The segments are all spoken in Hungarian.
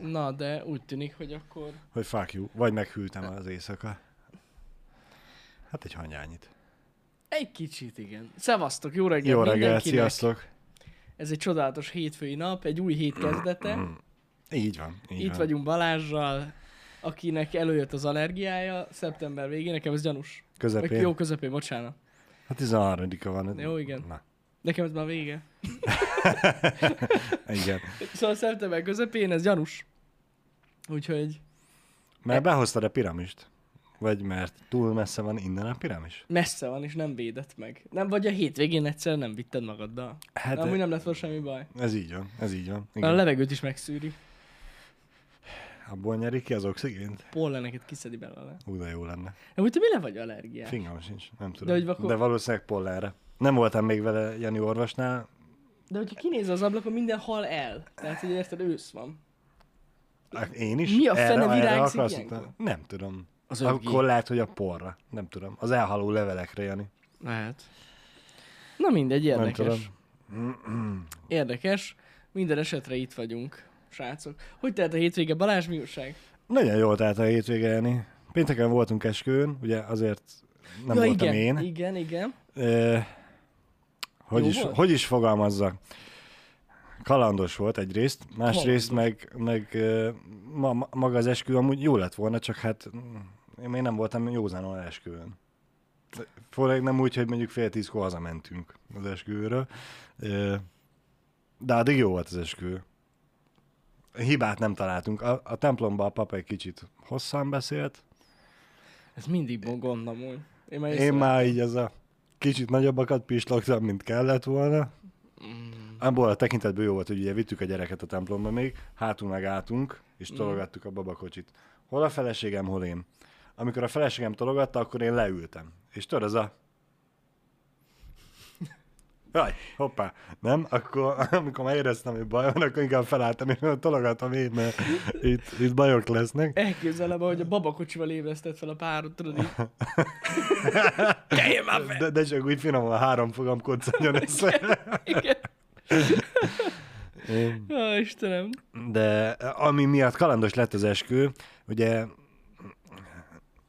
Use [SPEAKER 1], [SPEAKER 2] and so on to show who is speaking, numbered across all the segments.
[SPEAKER 1] Na, de úgy tűnik, hogy akkor...
[SPEAKER 2] Hogy fuck you. Vagy meghűltem az éjszaka. Hát egy hangyányit.
[SPEAKER 1] Egy kicsit, igen. Szevasztok, jó reggelt
[SPEAKER 2] Jó reggelt,
[SPEAKER 1] mindenkinek.
[SPEAKER 2] sziasztok.
[SPEAKER 1] Ez egy csodálatos hétfői nap, egy új hét
[SPEAKER 2] Mm,
[SPEAKER 1] kezdete.
[SPEAKER 2] Így van. Így
[SPEAKER 1] Itt
[SPEAKER 2] van.
[SPEAKER 1] vagyunk Balázsral, akinek előjött az allergiája szeptember végén, nekem ez gyanús. Vagy
[SPEAKER 2] Közepén.
[SPEAKER 1] jó közepén, bocsánat.
[SPEAKER 2] Hát 13 -a van.
[SPEAKER 1] Jó, igen.
[SPEAKER 2] Na,
[SPEAKER 1] Nekem ez már vége.
[SPEAKER 2] igen.
[SPEAKER 1] Szóval szeptember közepén ez gyanús. Úgyhogy
[SPEAKER 2] Mert behoztad a piramist. Vagy mert túl messze van innen a piramis?
[SPEAKER 1] messze van, és nem védett meg. Nem, vagy a hétvégén egyszer nem vitted magaddal.
[SPEAKER 2] Hát
[SPEAKER 1] Hát amúgy nem lett volna semmi baj.
[SPEAKER 2] ez így van, ez így van.
[SPEAKER 1] Mert
[SPEAKER 2] Igen.
[SPEAKER 1] a levegőt is megszűri.
[SPEAKER 2] Abból nyeri ki az oxigént?
[SPEAKER 1] Polleneket kiszedi belőle.
[SPEAKER 2] Ú, de jó lenne.
[SPEAKER 1] De úgy, te mire vagy allergiás?
[SPEAKER 2] Fingam sincs, nem tudom.
[SPEAKER 1] De
[SPEAKER 2] De,
[SPEAKER 1] hogy vakon-
[SPEAKER 2] De valószínűleg pollenre. Nem voltam még vele Jani orvosnál,
[SPEAKER 1] De hogyha kinéz az ablakon, minden hal el. Tehát, hogy érted, ősz van.
[SPEAKER 2] Hát Én is?
[SPEAKER 1] Mi a fene virágzik
[SPEAKER 2] akarsz
[SPEAKER 1] ilyenkor?
[SPEAKER 2] utalni? Nem tudom.
[SPEAKER 1] Az
[SPEAKER 2] Az
[SPEAKER 1] ötgé.
[SPEAKER 2] Akkor lehet, hogy a porra. Nem tudom. Az elhaló levelekre, Jani.
[SPEAKER 1] Lehet. Na mindegy,
[SPEAKER 2] Nem
[SPEAKER 1] érdekes.
[SPEAKER 2] tudom.
[SPEAKER 1] Érdekes. Minden esetre itt vagyunk, srácok. Hogy telt a hétvége, Balázs, mi újság?
[SPEAKER 2] Nagyon jól telt a hétvége, Jani. Pénteken voltunk esküvőn, ugye azért nem
[SPEAKER 1] ja,
[SPEAKER 2] voltam
[SPEAKER 1] igen,
[SPEAKER 2] én.
[SPEAKER 1] Igen, igen.
[SPEAKER 2] Ö, hogy,
[SPEAKER 1] Jó
[SPEAKER 2] is,
[SPEAKER 1] volt?
[SPEAKER 2] hogy is fogalmazzak? Kalandos volt egyrészt, másrészt meg, meg ö, ma, ma- maga az esküvő amúgy jó lett volna, csak hát mm, én még nem voltam józánul esküvőn. Főleg nem úgy, hogy mondjuk fél tízkor hazamentünk az esküvőről. Ö, De addig jó volt az esküvő. Hibát nem találtunk. A, a templomba a pap egy kicsit hosszan beszélt.
[SPEAKER 1] Ez mindig bon- gond amúgy. Én már
[SPEAKER 2] Én
[SPEAKER 1] észre...
[SPEAKER 2] már így ez a kicsit nagyobbakat pislogtam, mint kellett volna.
[SPEAKER 1] Mm,
[SPEAKER 2] Abból a tekintetből jó volt, hogy ugye vittük a gyereket a templomba még, hátul meg álltunk, és tologattuk a babakocsit. Hol a feleségem, hol én. Amikor a feleségem tologatta, akkor én leültem. És tudod, az a... Jaj, hoppá, nem? Akkor, amikor már éreztem, hogy baj van, akkor inkább felálltam, és tologatom én, mert itt, itt bajok lesznek.
[SPEAKER 1] elképzelem, hogy a babakocsival ébresztett fel a párod, tudod így. Teljél már fel!
[SPEAKER 2] De, de csak úgy finoman három fogam koccadjon össze.
[SPEAKER 1] Igen. Ó, Istenem.
[SPEAKER 2] De ami miatt kalandos lett az eskő, ugye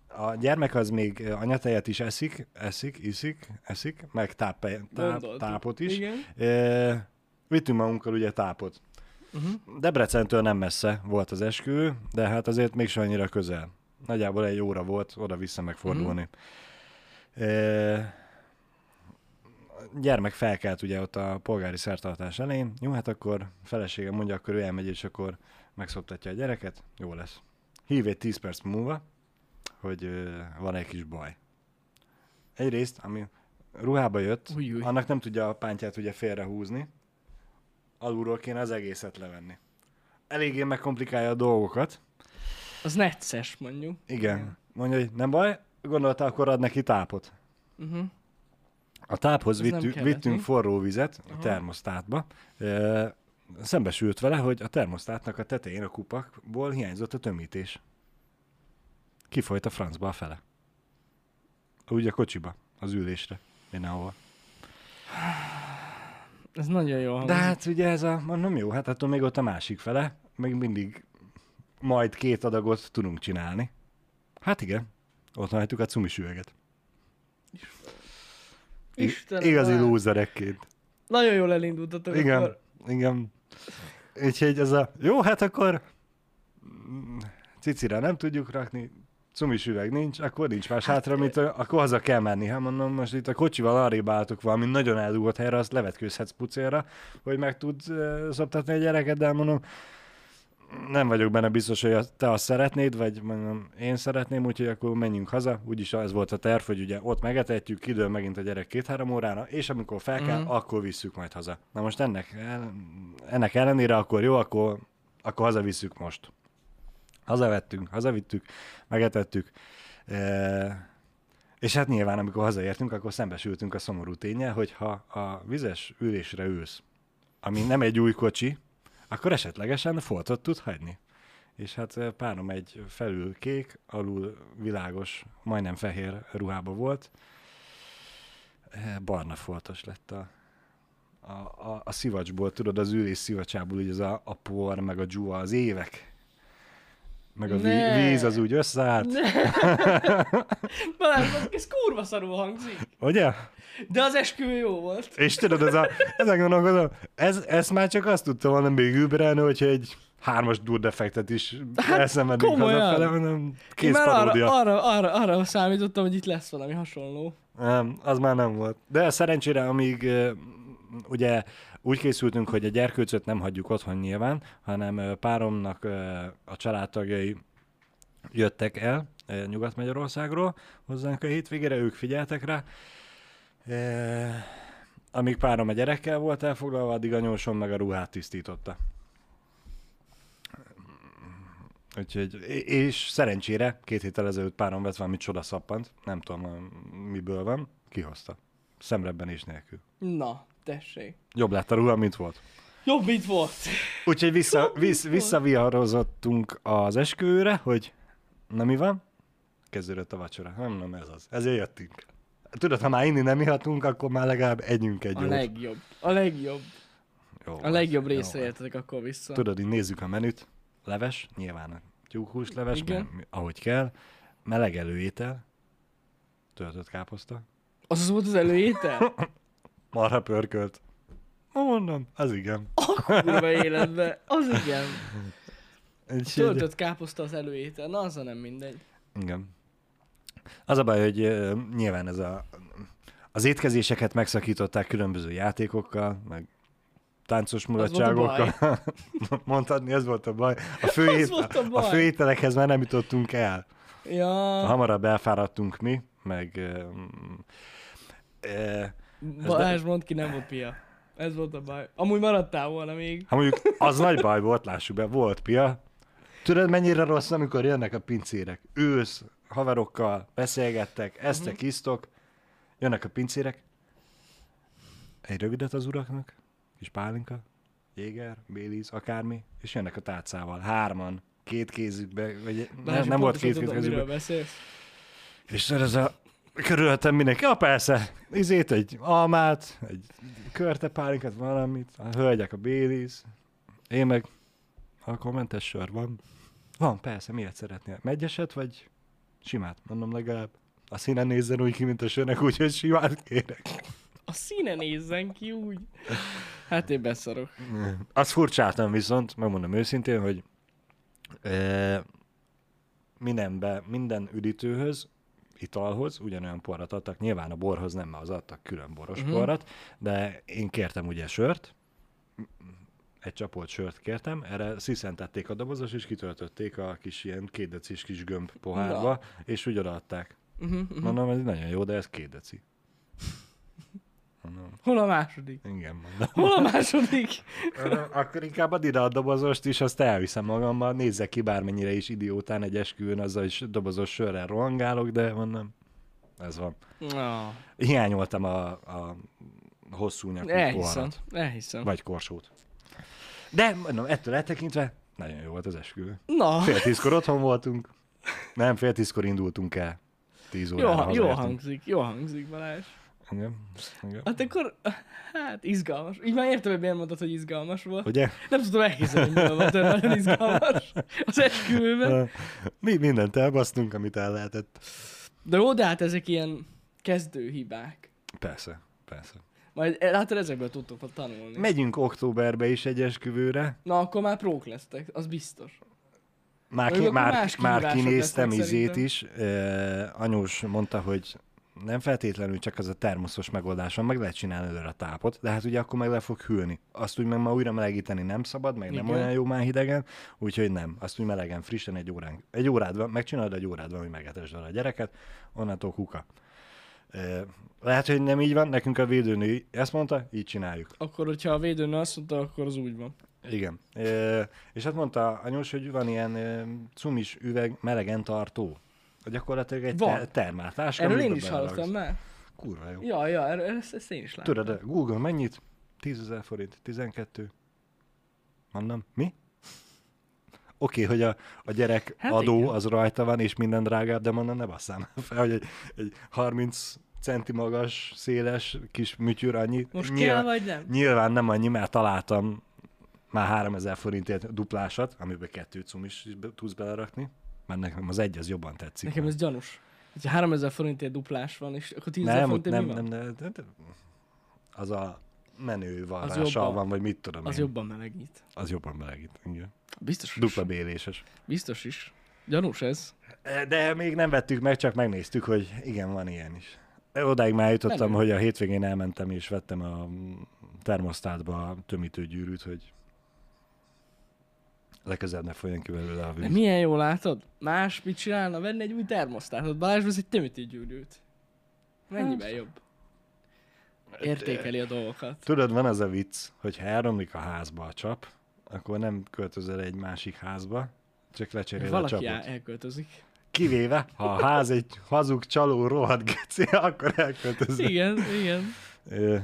[SPEAKER 2] a gyermek az még anyatejet is eszik, eszik, iszik, eszik, meg táp, táp,
[SPEAKER 1] Gondoltuk.
[SPEAKER 2] tápot is.
[SPEAKER 1] Igen.
[SPEAKER 2] E, vittünk magunkkal ugye tápot. Uh-huh. Debrecentől nem messze volt az eskü, de hát azért mégsem annyira közel. Nagyjából egy óra volt oda-vissza megfordulni. Uh-huh. E, gyermek felkelt ugye ott a polgári szertartás elején, jó, hát akkor feleségem mondja, akkor ő elmegy, és akkor megszoptatja a gyereket, jó lesz. Hív egy 10 perc múlva, hogy ö, van egy kis baj. Egyrészt, ami ruhába jött,
[SPEAKER 1] Ujj, ujj.
[SPEAKER 2] annak nem tudja a pántját ugye félrehúzni, alulról kéne az egészet levenni. Eléggé megkomplikálja a dolgokat,
[SPEAKER 1] Az necces, mondjuk.
[SPEAKER 2] igen. Mondja, hogy nem baj, gondolta, akkor ad neki tápot.
[SPEAKER 1] Mhm.
[SPEAKER 2] A táphoz
[SPEAKER 1] Ez nem
[SPEAKER 2] vittünk,
[SPEAKER 1] kellett,
[SPEAKER 2] vittünk
[SPEAKER 1] mi?
[SPEAKER 2] forró vizet a termosztátba. E, szembesült vele, hogy a termosztátnak a tetején a kupakból hiányzott a tömítés. Kifolyt a francba a fele. Úgy a kocsiba, az ülésre, mindenhova.
[SPEAKER 1] Ez nagyon jó hangzik.
[SPEAKER 2] De hát ugye ez a, mondom jó, hát attól még ott a másik fele, még mindig majd két adagot tudunk csinálni. Hát igen, ott hagytuk a cumis üveget. I-
[SPEAKER 1] Istenem,
[SPEAKER 2] Igazi
[SPEAKER 1] Balázs.
[SPEAKER 2] lúzerekként.
[SPEAKER 1] Nagyon jól elindultatok.
[SPEAKER 2] Igen,
[SPEAKER 1] Akkor.
[SPEAKER 2] igen. Úgyhogy ez a, jó, hát akkor mm, cicira nem tudjuk rakni, cumis üveg nincs, akkor nincs más hát, hátra, mint a, akkor haza kell menni. Hát mondom, most itt a kocsival arrébb álltok valami nagyon eldugott helyre, azt levetkőzhetsz pucélra, hogy meg tudsz uh, szoptatni a gyereket, de mondom, nem vagyok benne biztos, hogy a- te azt szeretnéd, vagy mondom, én szeretném, úgyhogy akkor menjünk haza. Úgyis ez volt a terv, hogy ugye ott megetetjük, kidől megint a gyerek két-három órára, és amikor fel kell, uh-huh. akkor visszük majd haza. Na most ennek, el- ennek ellenére akkor jó, akkor, akkor hazavisszük most. Hazavettünk, hazavittük, megetettük. E- és hát nyilván, amikor hazaértünk, akkor szembesültünk a szomorú tényel, hogy ha a vizes ülésre ülsz, ami nem egy új kocsi, akkor esetlegesen foltot tud hagyni. És hát eh, párom egy felül kék, alul világos, majdnem fehér ruhába volt. Eh, Barna foltos lett a, a, a, a szivacsból, tudod, az ülés szivacsából, ugye az a, a por, meg a dzsúva, az évek Meg a
[SPEAKER 1] Ne.
[SPEAKER 2] ne. víz az úgy összeállt. Ne.
[SPEAKER 1] Balázs, ez kurva szarul hangzik.
[SPEAKER 2] Ugye?
[SPEAKER 1] De az esküvő jó volt.
[SPEAKER 2] És tudod, ez a, ezen gondolkozom, ez, ezt már csak azt tudta volna még überelni, hogyha egy hármas durdefektet is
[SPEAKER 1] Hát,
[SPEAKER 2] hát, eszemedünk
[SPEAKER 1] komolyan.
[SPEAKER 2] hazafele, hanem
[SPEAKER 1] Én
[SPEAKER 2] kész
[SPEAKER 1] már arra,
[SPEAKER 2] paródia.
[SPEAKER 1] arra, arra, arra számítottam, hogy itt lesz valami hasonló.
[SPEAKER 2] Nem, az már nem volt. De szerencsére, amíg ö, ugye úgy készültünk, hogy a gyerkőcöt nem hagyjuk otthon nyilván, hanem ö, páromnak ö, a családtagjai jöttek el ö, Nyugat-Magyarországról hozzánk a hétvégére, ők figyeltek rá. Ö, Amíg párom a gyerekkel volt elfoglalva, addig anyósom meg a ruhát tisztította. Úgyhogy, és szerencsére két héttel ezelőtt párom vett valami csoda szappant, nem tudom ö, miből van, kihozta. Szemrebben és nélkül.
[SPEAKER 1] Na, tessék.
[SPEAKER 2] Jobb lett a ruha, mint volt.
[SPEAKER 1] Jobb itt volt.
[SPEAKER 2] Úgyhogy vissza, vissz, visszaviharozottunk az esküvőre, hogy na mi van? Kezdődött a vacsora. Nem, nem ez az. Ezért jöttünk. Tudod, ha már inni nem ihatunk, akkor már legalább együnk egy
[SPEAKER 1] A
[SPEAKER 2] jót.
[SPEAKER 1] legjobb. A legjobb.
[SPEAKER 2] Jó
[SPEAKER 1] A
[SPEAKER 2] volt,
[SPEAKER 1] legjobb
[SPEAKER 2] jó
[SPEAKER 1] részre
[SPEAKER 2] volt.
[SPEAKER 1] értetek akkor vissza.
[SPEAKER 2] Tudod, így nézzük a menüt. Leves, nyilván tyúkhús leves,
[SPEAKER 1] Igen.
[SPEAKER 2] mert mi- ahogy kell. Meleg előétel, töltött káposzta,
[SPEAKER 1] Az az volt az előétel?
[SPEAKER 2] marha pörkölt. Na mondom, az igen.
[SPEAKER 1] A kurva életbe. Az igen.
[SPEAKER 2] Úgyhogy-
[SPEAKER 1] Töltött káposzta az előétel. Na, az a nem mindegy.
[SPEAKER 2] Igen. Az a baj, hogy ö, nyilván ez a, az étkezéseket megszakították különböző játékokkal, meg táncos
[SPEAKER 1] volt a
[SPEAKER 2] mulatságokkal. Mondhatni, ez volt a baj. A, fő
[SPEAKER 1] volt a
[SPEAKER 2] a
[SPEAKER 1] baj. Ah.
[SPEAKER 2] főételekhez már nem jutottunk el.
[SPEAKER 1] Ja,
[SPEAKER 2] Hamarabb elfáradtunk mi, meg... ö, mm, ö,
[SPEAKER 1] Balázs, mondd ki, nem volt pia. Ez volt a baj. Amúgy maradtál volna még.
[SPEAKER 2] Ha Hát mondjuk az nagy baj volt, lássuk be, volt pia. Tudod, mennyire rossz, amikor jönnek a pincérek. Ősz, haverokkal beszélgettek, eztek,
[SPEAKER 1] Mhm.
[SPEAKER 2] uh-huh. isztok, jönnek a pincérek. Egy rövidet az uraknak, kis pálinka, jéger, béliz, akármi, és jönnek a tárcával, hárman, két kézükbe, vagy
[SPEAKER 1] Balázs,
[SPEAKER 2] nem, nem volt
[SPEAKER 1] pontosan
[SPEAKER 2] két
[SPEAKER 1] tudom,
[SPEAKER 2] kézükbe.
[SPEAKER 1] miről beszélsz.
[SPEAKER 2] És tudod, ez a körülöttem mindenki, ja persze, izét, egy almát, egy körtepálinkát, valamit, a hölgyek a béliz, én meg, akkor mentes sör van. Van, persze, miért szeretnél? Megyeset vagy simát? Mondom legalább. A színen nézzen úgy ki, mint a sörnek, úgyhogy simát kérek.
[SPEAKER 1] A színe nézzen ki úgy. Hát én beszarok.
[SPEAKER 2] Azt furcsáltam hát viszont, megmondom őszintén, hogy e, mindenbe, minden üdítőhöz, italhoz ugyanolyan porrat adtak. Nyilván a borhoz nem, mert az adtak külön boros
[SPEAKER 1] Mhm.
[SPEAKER 2] uh-huh. porrat, de én kértem ugye sört, egy csapolt sört kértem, erre sziszentették a dobozos, és kitöltötték a kis ilyen két decis kis gömb pohárba,
[SPEAKER 1] Na.
[SPEAKER 2] Na. és úgy odaadták.
[SPEAKER 1] Mhm, mhm.
[SPEAKER 2] Mondom, ez nagyon jó, de ez két deci.
[SPEAKER 1] Hol a második?
[SPEAKER 2] Igen, mondom.
[SPEAKER 1] Hol a második?
[SPEAKER 2] Ö, Akkor inkább add ide a dobozost is, azt elviszem magammal, nézzek ki bármennyire is idiótán egy esküvőn, azzal is dobozos sörrel rohangálok, de mondom, ez van.
[SPEAKER 1] Na,
[SPEAKER 2] Hiányoltam a, a hosszú nyakú
[SPEAKER 1] elhiszem,
[SPEAKER 2] poharat,
[SPEAKER 1] elhiszem.
[SPEAKER 2] vagy korsót. De mondom, ettől eltekintve nagyon jó volt az esküvő.
[SPEAKER 1] Na,
[SPEAKER 2] Fél tízkor otthon voltunk, nem, fél tízkor indultunk el. Tíz
[SPEAKER 1] jó,
[SPEAKER 2] órára
[SPEAKER 1] ha- jó
[SPEAKER 2] hazaértünk.
[SPEAKER 1] hangzik, jó hangzik Balázs.
[SPEAKER 2] Igen, igen.
[SPEAKER 1] Hát akkor, hát izgalmas. Így már értem, hogy miért mondtad, hogy izgalmas volt.
[SPEAKER 2] Ugye?
[SPEAKER 1] Nem tudom elhiszem, hogy miért volt, de nagyon izgalmas az esküvőben.
[SPEAKER 2] Ö, Mi mindent elbasztunk, amit el lehetett.
[SPEAKER 1] De jó, de hát ezek ilyen kezdőhibák.
[SPEAKER 2] Persze, persze.
[SPEAKER 1] Majd e, látod, ezekből tudtok tanulni.
[SPEAKER 2] Megyünk októberbe is egy esküvőre.
[SPEAKER 1] Na, akkor már prók lesztek, az biztos.
[SPEAKER 2] Már,
[SPEAKER 1] Mondjuk
[SPEAKER 2] ki,
[SPEAKER 1] akkor
[SPEAKER 2] már,
[SPEAKER 1] más
[SPEAKER 2] már
[SPEAKER 1] kihívások
[SPEAKER 2] kinéztem
[SPEAKER 1] lesznek
[SPEAKER 2] izét
[SPEAKER 1] szerintem.
[SPEAKER 2] is. Uh, anyós mondta, hogy nem feltétlenül csak az a termoszos megoldás van, meg lehet csinálni előre a tápot, de hát ugye akkor meg le fog hűlni. Azt úgy meg ma újra melegíteni nem szabad, meg nem
[SPEAKER 1] Igen.
[SPEAKER 2] olyan jó már hidegen, úgyhogy nem. Azt úgy melegen, frissen egy órán. Egy órád van, megcsinálod egy órád van, hogy megetesd vele a gyereket, onnantól kuka. Uh, lehet, hogy nem így van, nekünk a védőnő ezt mondta, így csináljuk.
[SPEAKER 1] Akkor, hogyha a védőnő azt mondta, akkor az úgy van.
[SPEAKER 2] Igen. E, és hát mondta anyós, hogy van ilyen e, cumis üveg melegen tartó. Gyakorlatilag egy
[SPEAKER 1] Van.
[SPEAKER 2] te- termáltáska.
[SPEAKER 1] Erről én
[SPEAKER 2] amiben
[SPEAKER 1] is hallottam
[SPEAKER 2] beleraksz.
[SPEAKER 1] már.
[SPEAKER 2] Kurva jó.
[SPEAKER 1] Ja, ja, erről, ezt, ezt én is láttam.
[SPEAKER 2] Tudod, de Google mennyit? 10 ezer forint, 12. Mondom, mi? Oké, okay, hogy a, a gyerek
[SPEAKER 1] Hát
[SPEAKER 2] hát adó
[SPEAKER 1] igen.
[SPEAKER 2] igen. az rajta van, és minden drágább, de mondom, ne basszám fel, hogy egy, egy 30 centi magas, széles kis műtyűr annyi.
[SPEAKER 1] Most
[SPEAKER 2] Nyilván-
[SPEAKER 1] kell, vagy nem?
[SPEAKER 2] Nyilván nem annyi, mert találtam már 3000 forintért duplásat, amiben kettő cumis is be- tudsz belerakni, mert nekem az egy az jobban tetszik.
[SPEAKER 1] Nekem ez gyanús. Hogyha 3000 forintért duplás van, és akkor 10
[SPEAKER 2] nem, ott
[SPEAKER 1] forintért
[SPEAKER 2] nem,
[SPEAKER 1] mi van?
[SPEAKER 2] nem, nem, nem, nem, az a menő van,
[SPEAKER 1] Az
[SPEAKER 2] rá,
[SPEAKER 1] jobban-
[SPEAKER 2] van, vagy mit tudom
[SPEAKER 1] Az
[SPEAKER 2] én.
[SPEAKER 1] jobban melegít.
[SPEAKER 2] Az jobban melegít, igen.
[SPEAKER 1] Biztos
[SPEAKER 2] Dupla
[SPEAKER 1] is.
[SPEAKER 2] béléses.
[SPEAKER 1] Biztos is. Gyanús ez.
[SPEAKER 2] De még nem vettük meg, csak megnéztük, hogy igen, van ilyen is. Odáig már jutottam,
[SPEAKER 1] Menő.
[SPEAKER 2] hogy a hétvégén elmentem és vettem a termosztátba a tömítőgyűrűt, hogy legközelebb ne folyjon ki belőle a
[SPEAKER 1] De
[SPEAKER 2] víz.
[SPEAKER 1] milyen jól látod? Más mit csinálna? Venni egy új termosztátot. Balázs vesz egy tömítőgyűrűt. Mennyiben jobb? Értékeli a dolgokat.
[SPEAKER 2] Tudod, van az a vicc, hogy ha elromlik a házba a csap, akkor nem költözöl egy másik házba, csak lecserél a
[SPEAKER 1] Valaki
[SPEAKER 2] csapot.
[SPEAKER 1] el- elköltözik.
[SPEAKER 2] Kivéve, ha a ház egy hazug csaló rohadt geci, akkor elköltözöl.
[SPEAKER 1] Igen, igen.
[SPEAKER 2] Ö,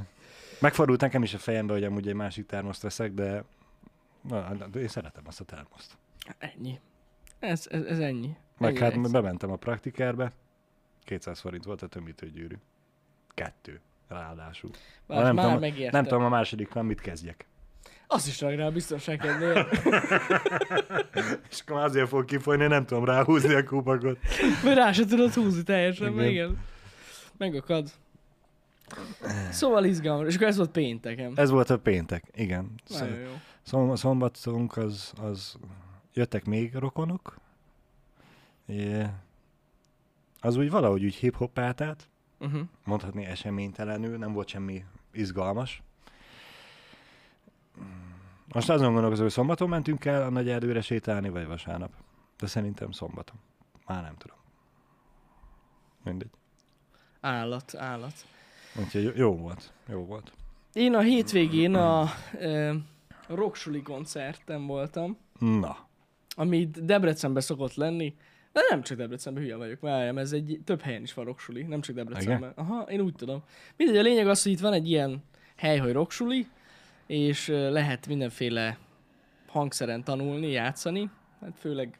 [SPEAKER 2] Megfordult nekem is a fejembe, hogy amúgy egy másik termoszt veszek, de, na, na, de én szeretem azt a termoszt.
[SPEAKER 1] Ennyi. Ez, ez, ez ennyi.
[SPEAKER 2] Meg
[SPEAKER 1] ennyi
[SPEAKER 2] hát
[SPEAKER 1] egyszer.
[SPEAKER 2] bementem a praktikárbe, 200 forint volt a tömítőgyűrű. Kettő, ráadásul.
[SPEAKER 1] Balázs,
[SPEAKER 2] nem
[SPEAKER 1] már
[SPEAKER 2] tudom-
[SPEAKER 1] megérte.
[SPEAKER 2] Nem tudom a második van, mit kezdjek.
[SPEAKER 1] Azt is rakd rá a biztonság kedvéért.
[SPEAKER 2] És akkor már azért fog kifolyni, nem tudom ráhúzni a kupakot.
[SPEAKER 1] Mert rá se tudod húzni teljesen, igen.
[SPEAKER 2] Igen.
[SPEAKER 1] igen. Megakad. Szóval izgalmas. És akkor ez volt pénteken.
[SPEAKER 2] Ez volt a péntek, igen. Szó-
[SPEAKER 1] Nagyon jó.
[SPEAKER 2] Szom, szombatunk az, az jöttek még rokonok. É, az úgy valahogy úgy hip-hop átállt,
[SPEAKER 1] Uh-huh.
[SPEAKER 2] mondhatni eseménytelenül, nem volt semmi izgalmas. Most azon gondolkozom, hogy szombaton mentünk el a nagy erdőre sétálni, vagy vasárnap. De szerintem szombaton. Már nem tudom. Mindegy.
[SPEAKER 1] Állat, állat.
[SPEAKER 2] Úgyhogy jó- jó volt. Jó volt.
[SPEAKER 1] Én a hétvégén a e, Rocksuli koncerten voltam,
[SPEAKER 2] Na.
[SPEAKER 1] ami Debrecenben szokott lenni. De nem csak Debrecenben, hülye vagyok, várjam, ez egy, több helyen is van Rocksuli, nem csak Debrecenben. Aha, én úgy tudom. Mindegy, a lényeg az, hogy itt van egy ilyen hely, hogy Rocksuli, és ö, lehet mindenféle hangszeren tanulni, játszani, hát főleg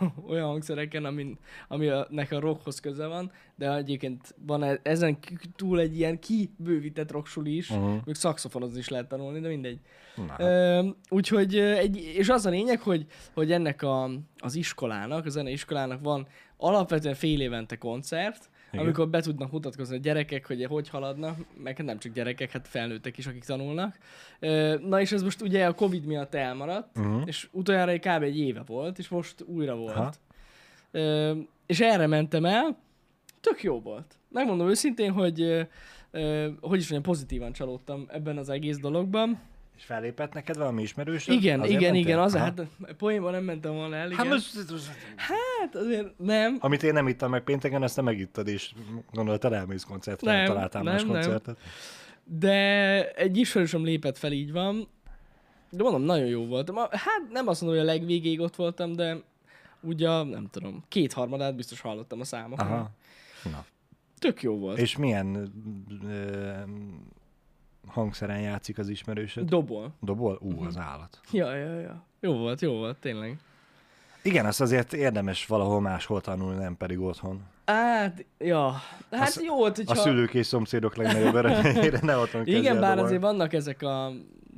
[SPEAKER 1] olyan hangszereken, amin, ami a, nek a rockhoz köze van, de egyébként van e- ezen k- túl egy ilyen kibővített rocksuli is, uh-huh.
[SPEAKER 2] Mhm.
[SPEAKER 1] még szakszofonozni is lehet tanulni, de mindegy.
[SPEAKER 2] Na. hát
[SPEAKER 1] Ö, úgyhogy, ö, egy, és az a lényeg, hogy, hogy ennek a, az iskolának, a zeneiskolának van alapvetően fél évente koncert, Igen.
[SPEAKER 2] Igen.
[SPEAKER 1] amikor be tudnak mutatkozni a gyerekek, hogy hogy haladnak, meg nem csak gyerekek, hát felnőttek is, akik tanulnak. Ö, Na és ez most ugye a Covid miatt elmaradt,
[SPEAKER 2] Mhm.
[SPEAKER 1] és utoljára egy kb. egy éve volt, és most újra
[SPEAKER 2] Aha.
[SPEAKER 1] volt. Ö, És erre mentem el, tök jó volt. Megmondom őszintén, hogy ö, ö, hogy is mondjam, pozitívan csalódtam ebben az egész dologban.
[SPEAKER 2] És fellépett neked valami ismerős?
[SPEAKER 1] Igen, igen, igen, az, hát poénban nem mentem volna el, igen.
[SPEAKER 2] Hát
[SPEAKER 1] Hát, most...
[SPEAKER 2] most,
[SPEAKER 1] hát azért nem,
[SPEAKER 2] amit én nem ittam meg pénteken, azt te megittad, és gondoltad elmész koncertre,
[SPEAKER 1] Nem,
[SPEAKER 2] nem, találtál
[SPEAKER 1] nem,
[SPEAKER 2] más
[SPEAKER 1] nem.
[SPEAKER 2] koncertet.
[SPEAKER 1] de egy ismerősöm lépett fel, így van. De mondom, nagyon jó volt. Ma, hát nem azt mondom, hogy a legvégéig ott voltam, de ugye, a- nem tudom, kétharmadát biztos hallottam a számoknak.
[SPEAKER 2] Aha.
[SPEAKER 1] Aha. Tök jó volt. És...
[SPEAKER 2] És milyen ö, hangszeren játszik az ismerősöd?
[SPEAKER 1] Dobol.
[SPEAKER 2] Dobol? Ú,
[SPEAKER 1] Mhm.
[SPEAKER 2] az állat.
[SPEAKER 1] Ja, ja, ja. Jó volt, jó volt, tényleg.
[SPEAKER 2] Igen, azt azért érdemes valahol máshol tanulni, nem pedig otthon.
[SPEAKER 1] Hát, ja. Hát
[SPEAKER 2] sz-
[SPEAKER 1] jó volt,
[SPEAKER 2] A
[SPEAKER 1] hogyha...
[SPEAKER 2] szülők és szomszédok legnagyobb örömére ne otthon kezdj el
[SPEAKER 1] Igen, bár
[SPEAKER 2] dobolni.
[SPEAKER 1] azért vannak ezek a...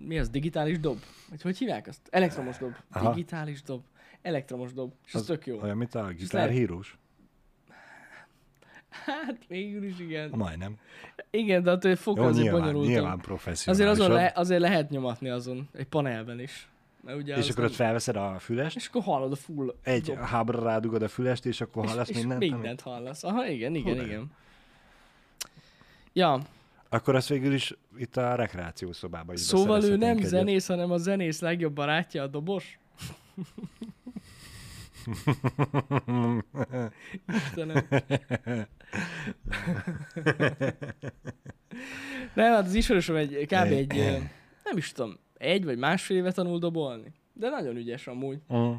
[SPEAKER 1] Mi az? Digitális dob? Vagy hogy hívják azt? Elektromos dob.
[SPEAKER 2] Aha.
[SPEAKER 1] Digitális dob. Elektromos dob. És az, az tök jó.
[SPEAKER 2] Olyan, mint a
[SPEAKER 1] lehet-
[SPEAKER 2] gitárhírós?
[SPEAKER 1] Hát végül is igen.
[SPEAKER 2] Majdnem.
[SPEAKER 1] Igen, de attól fog
[SPEAKER 2] Jó,
[SPEAKER 1] azért
[SPEAKER 2] nyilván,
[SPEAKER 1] bonyolultabb.
[SPEAKER 2] nyilván
[SPEAKER 1] Azért,
[SPEAKER 2] professzionálisabb.
[SPEAKER 1] azon le, azért lehet nyomatni azon, egy panelben is. Mert ugye
[SPEAKER 2] És
[SPEAKER 1] az
[SPEAKER 2] akkor
[SPEAKER 1] nem-
[SPEAKER 2] ott felveszed a fülest,
[SPEAKER 1] és akkor hallod a full
[SPEAKER 2] egy
[SPEAKER 1] dob-
[SPEAKER 2] hábra rádugod a fülest, és akkor hallasz
[SPEAKER 1] és,
[SPEAKER 2] mindent.
[SPEAKER 1] És
[SPEAKER 2] ami-
[SPEAKER 1] mindent hallasz. Aha, igen, igen,
[SPEAKER 2] Hú, de jó.
[SPEAKER 1] igen. Ja,
[SPEAKER 2] Akkor azt végül is itt a rekreáció szobában is
[SPEAKER 1] szóval ő nem
[SPEAKER 2] beszerezhetnénk egyet.
[SPEAKER 1] zenész, hanem a zenész legjobb barátja a dobos. Istenem. Nem, hát az ismerősöm egy, kb. egy, ö, nem is tudom, egy vagy másfél éve tanul dobolni. De nagyon ügyes amúgy.
[SPEAKER 2] Mm.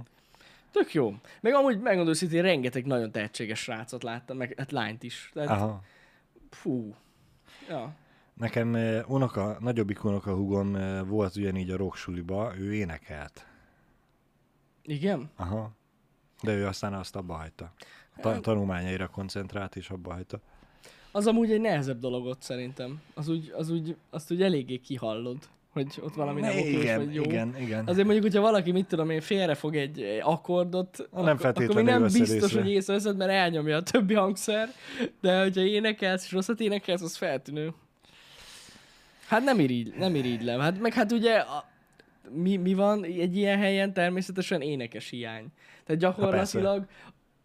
[SPEAKER 1] Tök jó. Meg amúgy megmondom őszintén, rengeteg nagyon tehetséges srácot láttam, meg hát lányt is. Tehát, Aha.
[SPEAKER 2] Aha.
[SPEAKER 1] fú. Ja.
[SPEAKER 2] Nekem eh, unoka, nagyobbik unokahúgom eh, volt ugyanígy a rocksuliba, ő énekelt.
[SPEAKER 1] Igen?
[SPEAKER 2] Aha. De ő aztán azt abba hagyta.
[SPEAKER 1] Hát-
[SPEAKER 2] Ta- tanulmányaira koncentrált, és abba hagyta.
[SPEAKER 1] Az amúgy egy nehezebb dolog ott szerintem. Az úgy, az úgy, azt úgy eléggé kihallod. hogy ott valami nem okés,
[SPEAKER 2] igen,
[SPEAKER 1] vagy jó.
[SPEAKER 2] igen, igen.
[SPEAKER 1] Azért mondjuk, hogyha valaki, mit tudom én, félrefog egy egy akkordot,
[SPEAKER 2] nem
[SPEAKER 1] ak- akkor még
[SPEAKER 2] feltétlenül
[SPEAKER 1] nem
[SPEAKER 2] veszed
[SPEAKER 1] biztos,
[SPEAKER 2] észre.
[SPEAKER 1] hogy észreveszed, mert elnyomja a többi hangszer, de hogyha énekelsz és rosszat énekelsz, az feltűnő. Hát nem irigy, nem irigylem. Hát meg hát ugye a, mi, mi van egy ilyen helyen? Természetesen énekes hiány.
[SPEAKER 2] Hát
[SPEAKER 1] Tehát gyakorlatilag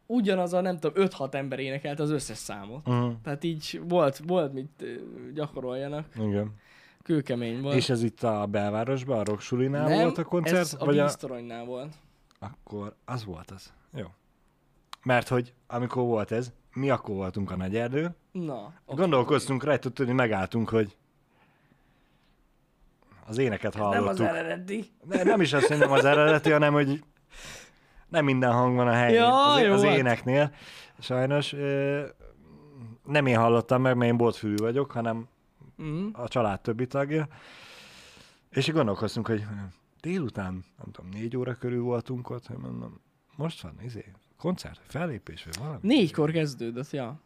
[SPEAKER 1] ugyanaz a nem tudom, 5-6 ember énekelt az összes számot.
[SPEAKER 2] Uh-huh.
[SPEAKER 1] Tehát így volt, volt mit ö, gyakoroljanak.
[SPEAKER 2] igen.
[SPEAKER 1] Kőkemény volt.
[SPEAKER 2] És ez itt a belvárosban, a Roksulinál volt a koncert?
[SPEAKER 1] ez a
[SPEAKER 2] vagy a...
[SPEAKER 1] bíztoronynál volt.
[SPEAKER 2] Akkor az volt az. Jó. Mert hogy amikor volt ez, mi akkor voltunk a nagy erdő,
[SPEAKER 1] Na.
[SPEAKER 2] okay. gondolkoztunk rajta, tudni megálltunk, hogy az éneket
[SPEAKER 1] Nem az
[SPEAKER 2] hallottuk. Nem,
[SPEAKER 1] eredeti.
[SPEAKER 2] nem, nem is azt mondom az eredeti, hanem hogy nem minden hang van a helyén
[SPEAKER 1] Ja,
[SPEAKER 2] az,
[SPEAKER 1] jó
[SPEAKER 2] az
[SPEAKER 1] volt.
[SPEAKER 2] éneknél. Sajnos ö, nem én hallottam meg, mert én boltfülű vagyok, hanem
[SPEAKER 1] Mm.
[SPEAKER 2] a család többi tagja. És így gondolkoztunk, hogy délután, nem tudom, négy óra körül voltunk ott, hogy mondom, most van, izé, koncert, fellépés, vagy valami.
[SPEAKER 1] Négykor kezdődött, ja.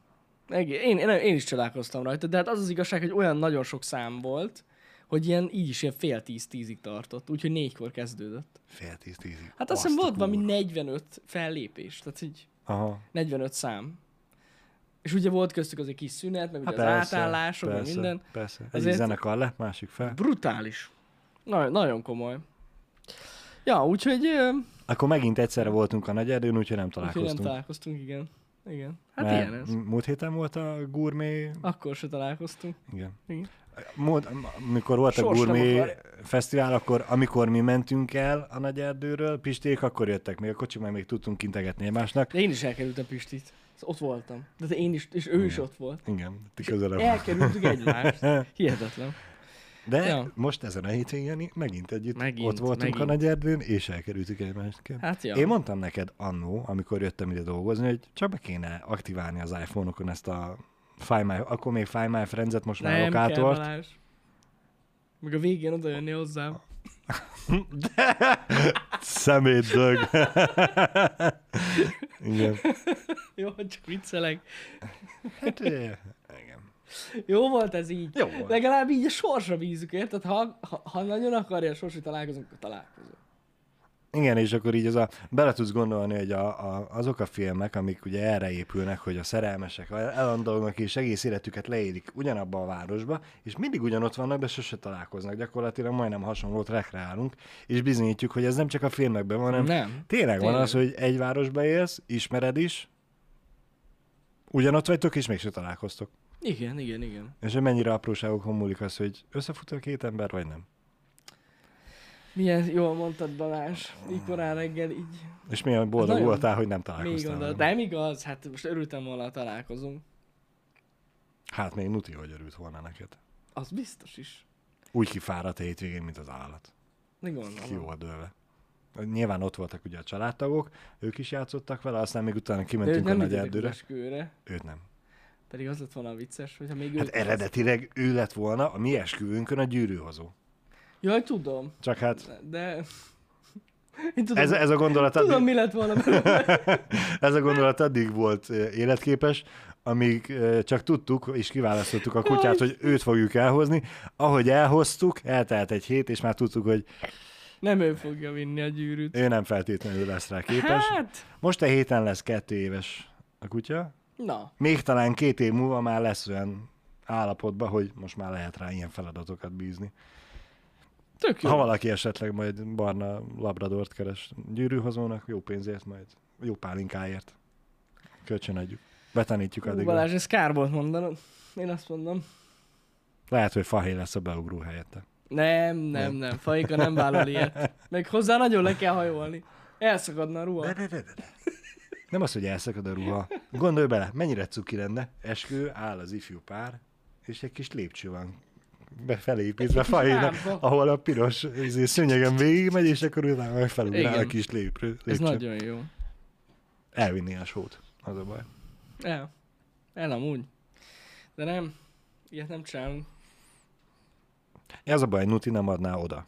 [SPEAKER 1] Eg- Én, én, én is csodálkoztam rajta, de hát az az igazság, hogy olyan nagyon sok szám volt, hogy ilyen így is ilyen fél tíz-tízig tartott, úgyhogy négykor kezdődött.
[SPEAKER 2] Fél tíz, tízig.
[SPEAKER 1] Hát azt hiszem
[SPEAKER 2] a
[SPEAKER 1] volt valami
[SPEAKER 2] kurva.
[SPEAKER 1] 45 fellépés, tehát így
[SPEAKER 2] Aha.
[SPEAKER 1] 45 szám. És ugye volt köztük az egy kis szünet, meg ugye
[SPEAKER 2] Hát
[SPEAKER 1] az
[SPEAKER 2] persze,
[SPEAKER 1] átállások, meg
[SPEAKER 2] persze,
[SPEAKER 1] minden.
[SPEAKER 2] Persze, egy
[SPEAKER 1] Azért-
[SPEAKER 2] zenekar le, másik fel.
[SPEAKER 1] Brutális. Na, nagyon komoly. Ja, úgyhogy... ö,
[SPEAKER 2] Akkor megint egyszerre voltunk a nagy erdőn, úgyhogy nem
[SPEAKER 1] Úgyhogy nem
[SPEAKER 2] találkoztunk.
[SPEAKER 1] találkoztunk, igen. Igen. Hát
[SPEAKER 2] Mert
[SPEAKER 1] ilyen ez.
[SPEAKER 2] m- Múlt héten volt a gurmé...
[SPEAKER 1] Akkor se találkoztunk.
[SPEAKER 2] Igen.
[SPEAKER 1] Igen.
[SPEAKER 2] Múlt, m- amikor volt a
[SPEAKER 1] Sors nem
[SPEAKER 2] gurmé
[SPEAKER 1] akar.
[SPEAKER 2] fesztivál, akkor amikor mi mentünk el a nagy erdőről, Pisték, akkor jöttek még a kocsik, mert még tudtunk integetni egymásnak.
[SPEAKER 1] De én is elkerültem Pistit. Szóval Ott voltam. De te én is, és ő is ott volt.
[SPEAKER 2] Igen, ti közelebb.
[SPEAKER 1] Elkerültük egymást. Hihetetlen.
[SPEAKER 2] De
[SPEAKER 1] Ja.
[SPEAKER 2] most ezen a hétvégén megint együtt
[SPEAKER 1] Megint,
[SPEAKER 2] megint, ott voltunk
[SPEAKER 1] megint.
[SPEAKER 2] megint. a nagy erdőn, és elkerültük egymást. Kell.
[SPEAKER 1] Hát ja.
[SPEAKER 2] Én mondtam neked annó, amikor jöttem ide dolgozni, hogy csak be kéne aktiválni az iPhone-okon ezt a Find My, akkor még Find My Friends-et, most már
[SPEAKER 1] nem kell
[SPEAKER 2] lokátort.
[SPEAKER 1] Balázs. Meg a végén oda jönni hozzám.
[SPEAKER 2] Szemét dög. Igen.
[SPEAKER 1] Jó, csak viccelek.
[SPEAKER 2] Hát, eh, igen.
[SPEAKER 1] Jó volt ez így.
[SPEAKER 2] Jó volt.
[SPEAKER 1] Legalább így a sorsra bízunk, érted? Ha, ha, ha nagyon akarja a sors, hogy találkozunk, akkor találkozunk.
[SPEAKER 2] Igen, és akkor így az a, bele tudsz gondolni, hogy a, a, azok a filmek, amik ugye erre épülnek, hogy a szerelmesek el- elandolnak és egész életüket leélik ugyanabba a városba, és mindig ugyanott vannak, de sose találkoznak. Gyakorlatilag majdnem hasonlót rekreálunk, és bizonyítjuk, hogy ez nem csak a filmekben van, hanem
[SPEAKER 1] Nem.
[SPEAKER 2] Tényleg van
[SPEAKER 1] Tényleg.
[SPEAKER 2] az, hogy egy városba élsz, ismered is, ugyanott vagytok, és mégse találkoztok.
[SPEAKER 1] Igen, igen, igen.
[SPEAKER 2] És hogy mennyire apróságokon múlik az, hogy összefut a két ember, vagy nem.
[SPEAKER 1] Milyen jól mondtad Balázs, így korán reggel így
[SPEAKER 2] És milyen boldog
[SPEAKER 1] nagyon-
[SPEAKER 2] voltál, hogy nem
[SPEAKER 1] még
[SPEAKER 2] találkoztál.
[SPEAKER 1] oda.
[SPEAKER 2] velem.
[SPEAKER 1] Nem igaz, hát most örültem volna, ha találkozunk.
[SPEAKER 2] Hát még Nuti, hogy örült volna neked.
[SPEAKER 1] Az biztos is.
[SPEAKER 2] Úgy kifáradt a hétvégén, mint az állat.
[SPEAKER 1] Ne
[SPEAKER 2] Ki
[SPEAKER 1] gondolom.
[SPEAKER 2] volt dőlve. Nyilván ott voltak ugye a családtagok, ők is játszottak vele, aztán még utána
[SPEAKER 1] De őt
[SPEAKER 2] kimentünk a
[SPEAKER 1] nem
[SPEAKER 2] nagy
[SPEAKER 1] vittek
[SPEAKER 2] erdőre.
[SPEAKER 1] esküvőre,
[SPEAKER 2] Őt nem.
[SPEAKER 1] pedig az lett volna vicces, hogyha még
[SPEAKER 2] Hát
[SPEAKER 1] őt...
[SPEAKER 2] eredetileg ő lett volna a mi esküvőnkön a gyűrűhozó.
[SPEAKER 1] Jaj, tudom,
[SPEAKER 2] Csak hát
[SPEAKER 1] de... Én tudom,
[SPEAKER 2] ez, ez a gondolat addig-
[SPEAKER 1] tudom mi lett volna belőle.
[SPEAKER 2] Ez a gondolat addig volt eh, életképes, amíg eh, csak tudtuk és kiválasztottuk a kutyát, hogy őt fogjuk elhozni. Ahogy elhoztuk, eltelt egy hét, és már tudtuk, hogy
[SPEAKER 1] Nem ő fogja vinni a gyűrűt.
[SPEAKER 2] ő nem feltétlenül lesz rá képes.
[SPEAKER 1] Hát,
[SPEAKER 2] Most a héten lesz kettő éves a kutya.
[SPEAKER 1] na,
[SPEAKER 2] Még talán két év múlva már lesz olyan állapotban, hogy most már lehet rá ilyen feladatokat bízni.
[SPEAKER 1] tök jó.
[SPEAKER 2] Ha valaki esetleg majd barna labradort keres gyűrűhozónak, jó pénzért majd, jó pálinkáért. Kölcsön adjuk. Betanítjuk
[SPEAKER 1] Hú,
[SPEAKER 2] addig.
[SPEAKER 1] Balázs, ez kár volt mondanod. Én azt mondom.
[SPEAKER 2] Lehet, hogy fahéj lesz a beugró helyette.
[SPEAKER 1] Nem, nem, nem. Faika nem vállal ilyet. Meg hozzá nagyon le kell hajolni. Elszakadna a ruha.
[SPEAKER 2] de, de, de. Nem az, hogy elszakad a ruha. Gondolj bele, mennyire cuki lenne. Eskő, áll az ifjú pár, és egy kis lépcső van befelé építve fahéjnak,
[SPEAKER 1] lámpa.
[SPEAKER 2] ahol a piros izé, szőnyegen végigmegy, és akkor utána meg felugrál
[SPEAKER 1] Igen.
[SPEAKER 2] a kis lépcső. lépcső.
[SPEAKER 1] Ez nagyon jó.
[SPEAKER 2] Elvinni a sót, az a baj.
[SPEAKER 1] El. El amúgy. De nem. Ilyet nem csinálunk.
[SPEAKER 2] Ez a baj, Nuti nem adná oda.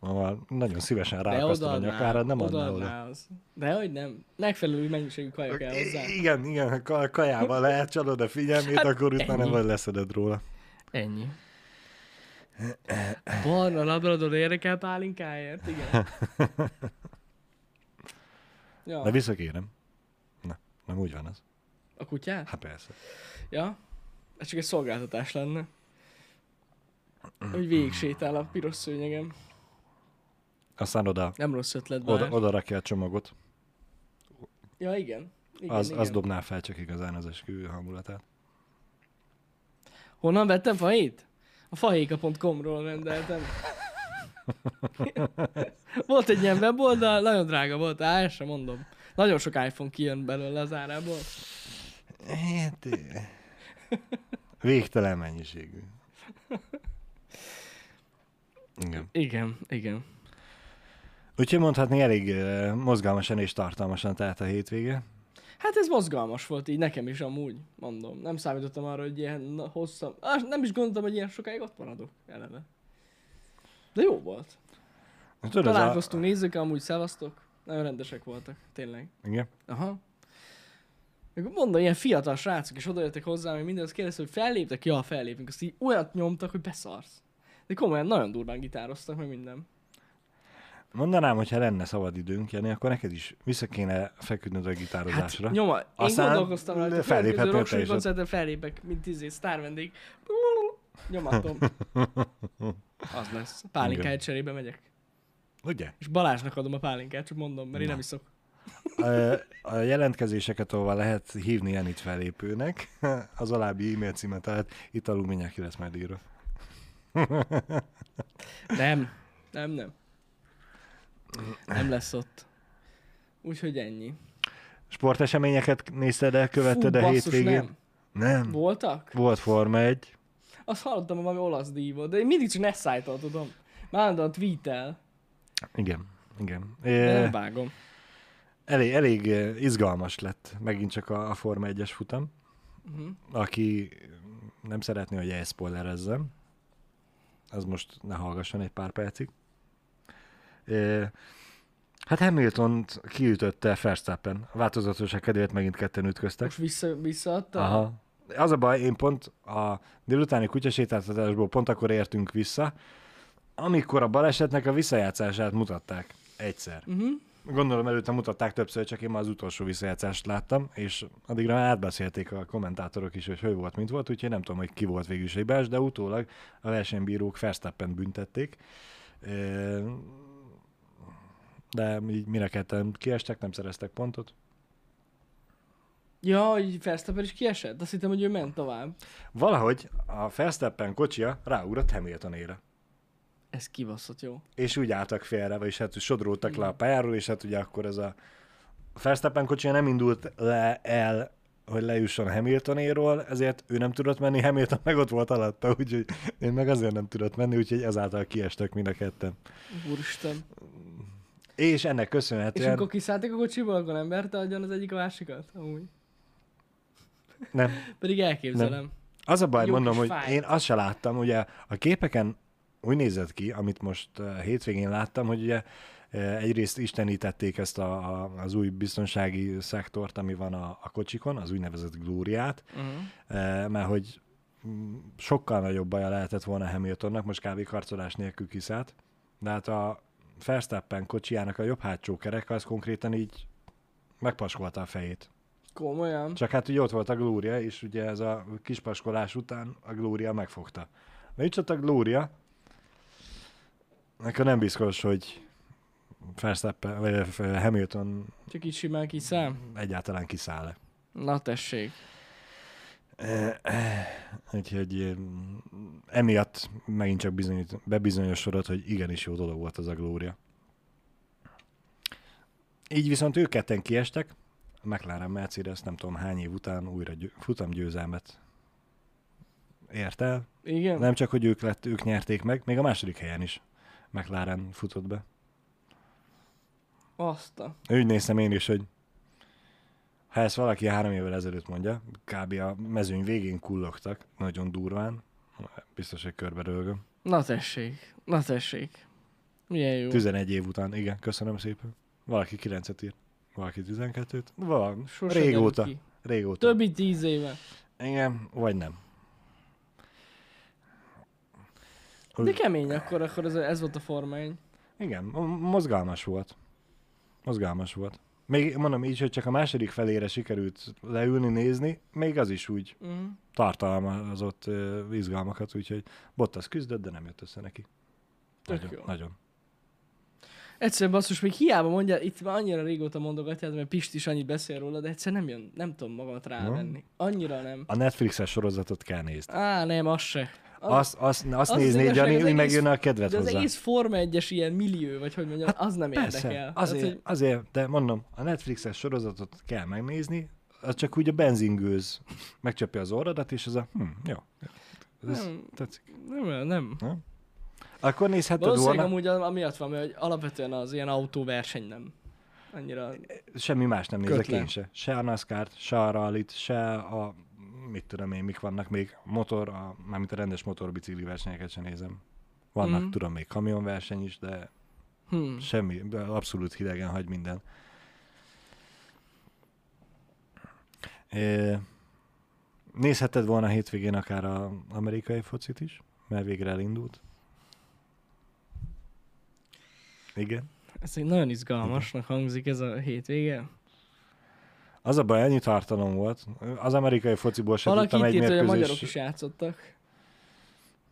[SPEAKER 2] Ahol nagyon szívesen ráakasztom a
[SPEAKER 1] odaadná,
[SPEAKER 2] nyakára, nem adná oda.
[SPEAKER 1] odaadná az. De hogy nem. Megfelelő mennyiségű kaja kell hozzá.
[SPEAKER 2] I- Igen, igen, ha ka- kajával elcsalod a figyelmét,
[SPEAKER 1] Hát
[SPEAKER 2] akkor utána
[SPEAKER 1] ennyi.
[SPEAKER 2] majd leszeded róla.
[SPEAKER 1] Ennyi. Barna labrador érdekel pálinkáért, igen. Ja,
[SPEAKER 2] Na visszakérem. Na, nem úgy van az.
[SPEAKER 1] a kutyát?
[SPEAKER 2] Hát persze.
[SPEAKER 1] Ja. Ez csak egy szolgáltatás lenne. Hogy végig sétál a piros szőnyegem.
[SPEAKER 2] Aztán oda,
[SPEAKER 1] Nem rossz ötlet, bár.
[SPEAKER 2] oda, oda rakja a csomagot.
[SPEAKER 1] Ja, igen. igen,
[SPEAKER 2] az,
[SPEAKER 1] igen.
[SPEAKER 2] az dobná fel csak igazán az esküvő hangulatát.
[SPEAKER 1] Honnan vettem fahét? A fahéka.com-ról rendeltem. volt egy ilyen weboldal, nagyon drága volt, á, ezt sem mondom. Nagyon sok iPhone kijön belőle az árából.
[SPEAKER 2] Hát, eh, Végtelen mennyiségű. Igen.
[SPEAKER 1] Igen, igen.
[SPEAKER 2] Úgyhogy mondhatni elég eh, mozgalmasan és tartalmasan tehát a hétvége.
[SPEAKER 1] Hát ez mozgalmas volt így nekem is amúgy, mondom. Nem számítottam arra, hogy ilyen na- hosszan... Ah, nem is gondoltam, hogy ilyen sokáig ott maradok eleve. De jó volt.
[SPEAKER 2] Tudod, ez a...
[SPEAKER 1] Találkoztunk nézzük, amúgy szevasztok. Nagyon rendesek voltak, tényleg.
[SPEAKER 2] Igen.
[SPEAKER 1] Aha. Akkor mondom, ilyen fiatal srácok is odajöttek hozzám, hogy mindent kérdezte, hogy felléptek? Ja, fellépünk. Azt így olyat nyomtak, hogy beszarsz. De komolyan nagyon durván gitároztak meg minden.
[SPEAKER 2] Hát, Mondanám, hogy ha lenne szabad időnk, Jani, akkor neked is vissza kéne feküdnöd a gitározásra. Hát,
[SPEAKER 1] Nyoma, én
[SPEAKER 2] Aztán
[SPEAKER 1] gondolkoztam rá, hogy a következő
[SPEAKER 2] felléphetnél te
[SPEAKER 1] rockshow
[SPEAKER 2] is ott.
[SPEAKER 1] koncerten fellépek, mint izé, sztár vendég. Nyomatom. Az lesz. Pálinkáért cserébe megyek.
[SPEAKER 2] Ugye?
[SPEAKER 1] És Balázsnak adom a pálinkát, csak mondom, mert én nem iszok.
[SPEAKER 2] Ö, A jelentkezéseket, ahova lehet hívni Janit felépőnek, az alábbi e-mail címe, tehát itt alul mindjárt ki lesz majd írva.
[SPEAKER 1] Nem. Nem, nem. Nem lesz ott. Úgyhogy ennyi.
[SPEAKER 2] Sporteseményeket nézted el, követted
[SPEAKER 1] Fú,
[SPEAKER 2] a
[SPEAKER 1] basszus,
[SPEAKER 2] hétvégén?
[SPEAKER 1] nem.
[SPEAKER 2] nem.
[SPEAKER 1] Voltak?
[SPEAKER 2] Volt Forma 1.
[SPEAKER 1] Azt hallottam, hogy valami olasz dívot, de én mindig csak Nessájtól tudom. Már állandóan tweetel,
[SPEAKER 2] Igen, igen.
[SPEAKER 1] de
[SPEAKER 2] É,
[SPEAKER 1] nem vágom.
[SPEAKER 2] elég, elég eh, izgalmas lett megint csak a, a Forma 1-es futam.
[SPEAKER 1] Mhm.
[SPEAKER 2] Aki nem szeretné, hogy elspoilerezzem, az most ne hallgasson egy pár percig. É, hát hamilton kiütötte Verstappen. A változatosság kedvéért megint ketten ütköztek.
[SPEAKER 1] Most vissza, visszaadta?
[SPEAKER 2] Aha. Az a baj, én pont a délutáni kutyasétáltatásból pont akkor értünk vissza, amikor a balesetnek a visszajátszását mutatták egyszer. Uh-huh. Gondolom előtte mutatták többször, csak én már az utolsó visszajátszást láttam, és addigra már átbeszélték a kommentátorok is, hogy hogy volt, mint volt, úgyhogy nem tudom, hogy ki volt végül is egy bás, de utólag a versenybírók Verstappen büntették. Ö, De így mire ketten kiestek, nem szereztek pontot.
[SPEAKER 1] Ja, hogy Verstappen is kiesett? Azt hittem, hogy ő ment tovább.
[SPEAKER 2] Valahogy a Verstappen kocsia ráugrott Hamiltonére.
[SPEAKER 1] Ez kibaszott jó.
[SPEAKER 2] És úgy álltak félre, vagyis hát úgy sodródtak le a pályáról, és hát ugye akkor ez a a Verstappen kocsia nem indult le el, hogy lejusson Hamiltonéról, ezért ő nem tudott menni, Hamilton meg ott volt alatta, úgyhogy én meg azért nem tudott menni, úgyhogy ezáltal kiestek mind a ketten.
[SPEAKER 1] Úristen.
[SPEAKER 2] És ennek
[SPEAKER 1] És
[SPEAKER 2] köszönhetően...
[SPEAKER 1] amikor kiszálltak a kocsiból, akkor nem verte agyon az egyik a másikat? Amúgy.
[SPEAKER 2] Nem,
[SPEAKER 1] Pedig elképzelem. Nem.
[SPEAKER 2] Az a baj,
[SPEAKER 1] Jó
[SPEAKER 2] mondom,
[SPEAKER 1] kis
[SPEAKER 2] hogy
[SPEAKER 1] fájt.
[SPEAKER 2] én azt se láttam, ugye a képeken úgy nézett ki, amit most eh, hétvégén láttam, hogy ugye eh, egyrészt istenítették ezt a, a, az új biztonsági szektort, ami van a, a kocsikon, az úgynevezett glóriát,
[SPEAKER 1] Uh-huh.
[SPEAKER 2] eh, mert hogy mm, sokkal nagyobb baja lehetett volna Hamiltonnak, most kb. karcolás nélkül kiszállt, de hát a Verstappen kocsijának a jobb hátsó kerek az konkrétan így megpaskolta a fejét.
[SPEAKER 1] Komolyan.
[SPEAKER 2] Csak hát ugye ott volt a Glória, és ugye ez a kispaskolás után a Glória megfogta. Nincs ott a Glória, akkor nem biztos, hogy Verstappen, vagy eh, Hamilton
[SPEAKER 1] Csak így simán kiszáll.
[SPEAKER 2] egyáltalán kiszáll
[SPEAKER 1] Na tessék.
[SPEAKER 2] Eh, Úgyhogy eh, emiatt megint csak bizonyít, bebizonyosodott, hogy igenis jó dolog volt az a Glória. Így viszont ők ketten kiestek, a McLaren Mercedes nem tudom hány év után újra győ, futamgyőzelmet ért el,
[SPEAKER 1] Igen?
[SPEAKER 2] Nem csak, hogy ők, lett, ők nyerték meg, még a második helyen is McLaren futott be.
[SPEAKER 1] Azt a...
[SPEAKER 2] Úgy néztem én is, hogy ha ezt valaki három évvel ezelőtt mondja, kb. a mezőny végén kullogtak, nagyon durván, biztos, hogy körbe rölgöm.
[SPEAKER 1] Na tessék. Na tessék. Milyen jó.
[SPEAKER 2] 11 év után, igen, köszönöm szépen. Valaki 9-et írt, valaki 12-t, valami,
[SPEAKER 1] Sose derül
[SPEAKER 2] régóta,
[SPEAKER 1] ki.
[SPEAKER 2] régóta.
[SPEAKER 1] Többi tíz éve.
[SPEAKER 2] Igen, vagy nem.
[SPEAKER 1] De kemény akkor, akkor ez, ez volt a formány.
[SPEAKER 2] Igen, mo- mozgalmas volt. Mozgalmas volt. Még mondom így, hogy csak a második felére sikerült leülni, nézni, még az is úgy
[SPEAKER 1] Mhm.
[SPEAKER 2] tartalmazott ö, izgalmakat, úgyhogy Bottas küzdött, de nem jött össze neki.
[SPEAKER 1] Tök
[SPEAKER 2] Nagyon,
[SPEAKER 1] jó.
[SPEAKER 2] nagyon.
[SPEAKER 1] Egyszerűen basszus, még hiába mondja, itt már annyira régóta mondogatják, mert Pist is annyit beszél róla, de egyszer nem jön, nem tudom magamat rávenni. Annyira nem.
[SPEAKER 2] A Netflixes sorozatot kell nézni.
[SPEAKER 1] Á, nem, az se. Az,
[SPEAKER 2] Azt, azt, azt
[SPEAKER 1] az
[SPEAKER 2] az
[SPEAKER 1] az
[SPEAKER 2] nézni,
[SPEAKER 1] igazság,
[SPEAKER 2] Jani,
[SPEAKER 1] az
[SPEAKER 2] hogy
[SPEAKER 1] egész-
[SPEAKER 2] megjön a kedved
[SPEAKER 1] de az
[SPEAKER 2] hozzá.
[SPEAKER 1] egész Forma 1-es ilyen millió, vagy hogy mondjam, hát, az nem érdekel.
[SPEAKER 2] azért,
[SPEAKER 1] Tehát, hogy
[SPEAKER 2] azért, de mondom, a Netflixes sorozatot kell megnézni, az csak úgy a benzingőz megcsapja az orradat, és az a, hm, jó. Ez
[SPEAKER 1] Nem.
[SPEAKER 2] tetszik.
[SPEAKER 1] nem, nem.
[SPEAKER 2] Hát Akkor nézheted
[SPEAKER 1] Valószínűleg
[SPEAKER 2] volna,
[SPEAKER 1] amúgy a- amiatt van, mert hogy alapvetően az ilyen autóverseny nem annyira...
[SPEAKER 2] semmi más nem nézek
[SPEAKER 1] Kötlen.
[SPEAKER 2] én se. Se a NASCAR-t, se a rallit, se a, mit tudom én, mik vannak még, motor, a, mármint a rendes motorbicikli versenyeket sem nézem. Vannak,
[SPEAKER 1] Mhm.
[SPEAKER 2] tudom, még kamionverseny is, de
[SPEAKER 1] Hm.
[SPEAKER 2] Semmi, de abszolút hidegen hagy minden. É, nézheted volna a hétvégén akár az amerikai focit is, mert végre elindult. Igen.
[SPEAKER 1] Ez egy nagyon izgalmasnak hangzik ez a hétvége.
[SPEAKER 2] Az a baj, ennyi tartalom volt. Az amerikai fociból sem
[SPEAKER 1] Valaki
[SPEAKER 2] tudtam
[SPEAKER 1] itt
[SPEAKER 2] egy
[SPEAKER 1] írt, hogy a magyarok
[SPEAKER 2] mérkőzés.
[SPEAKER 1] is játszottak.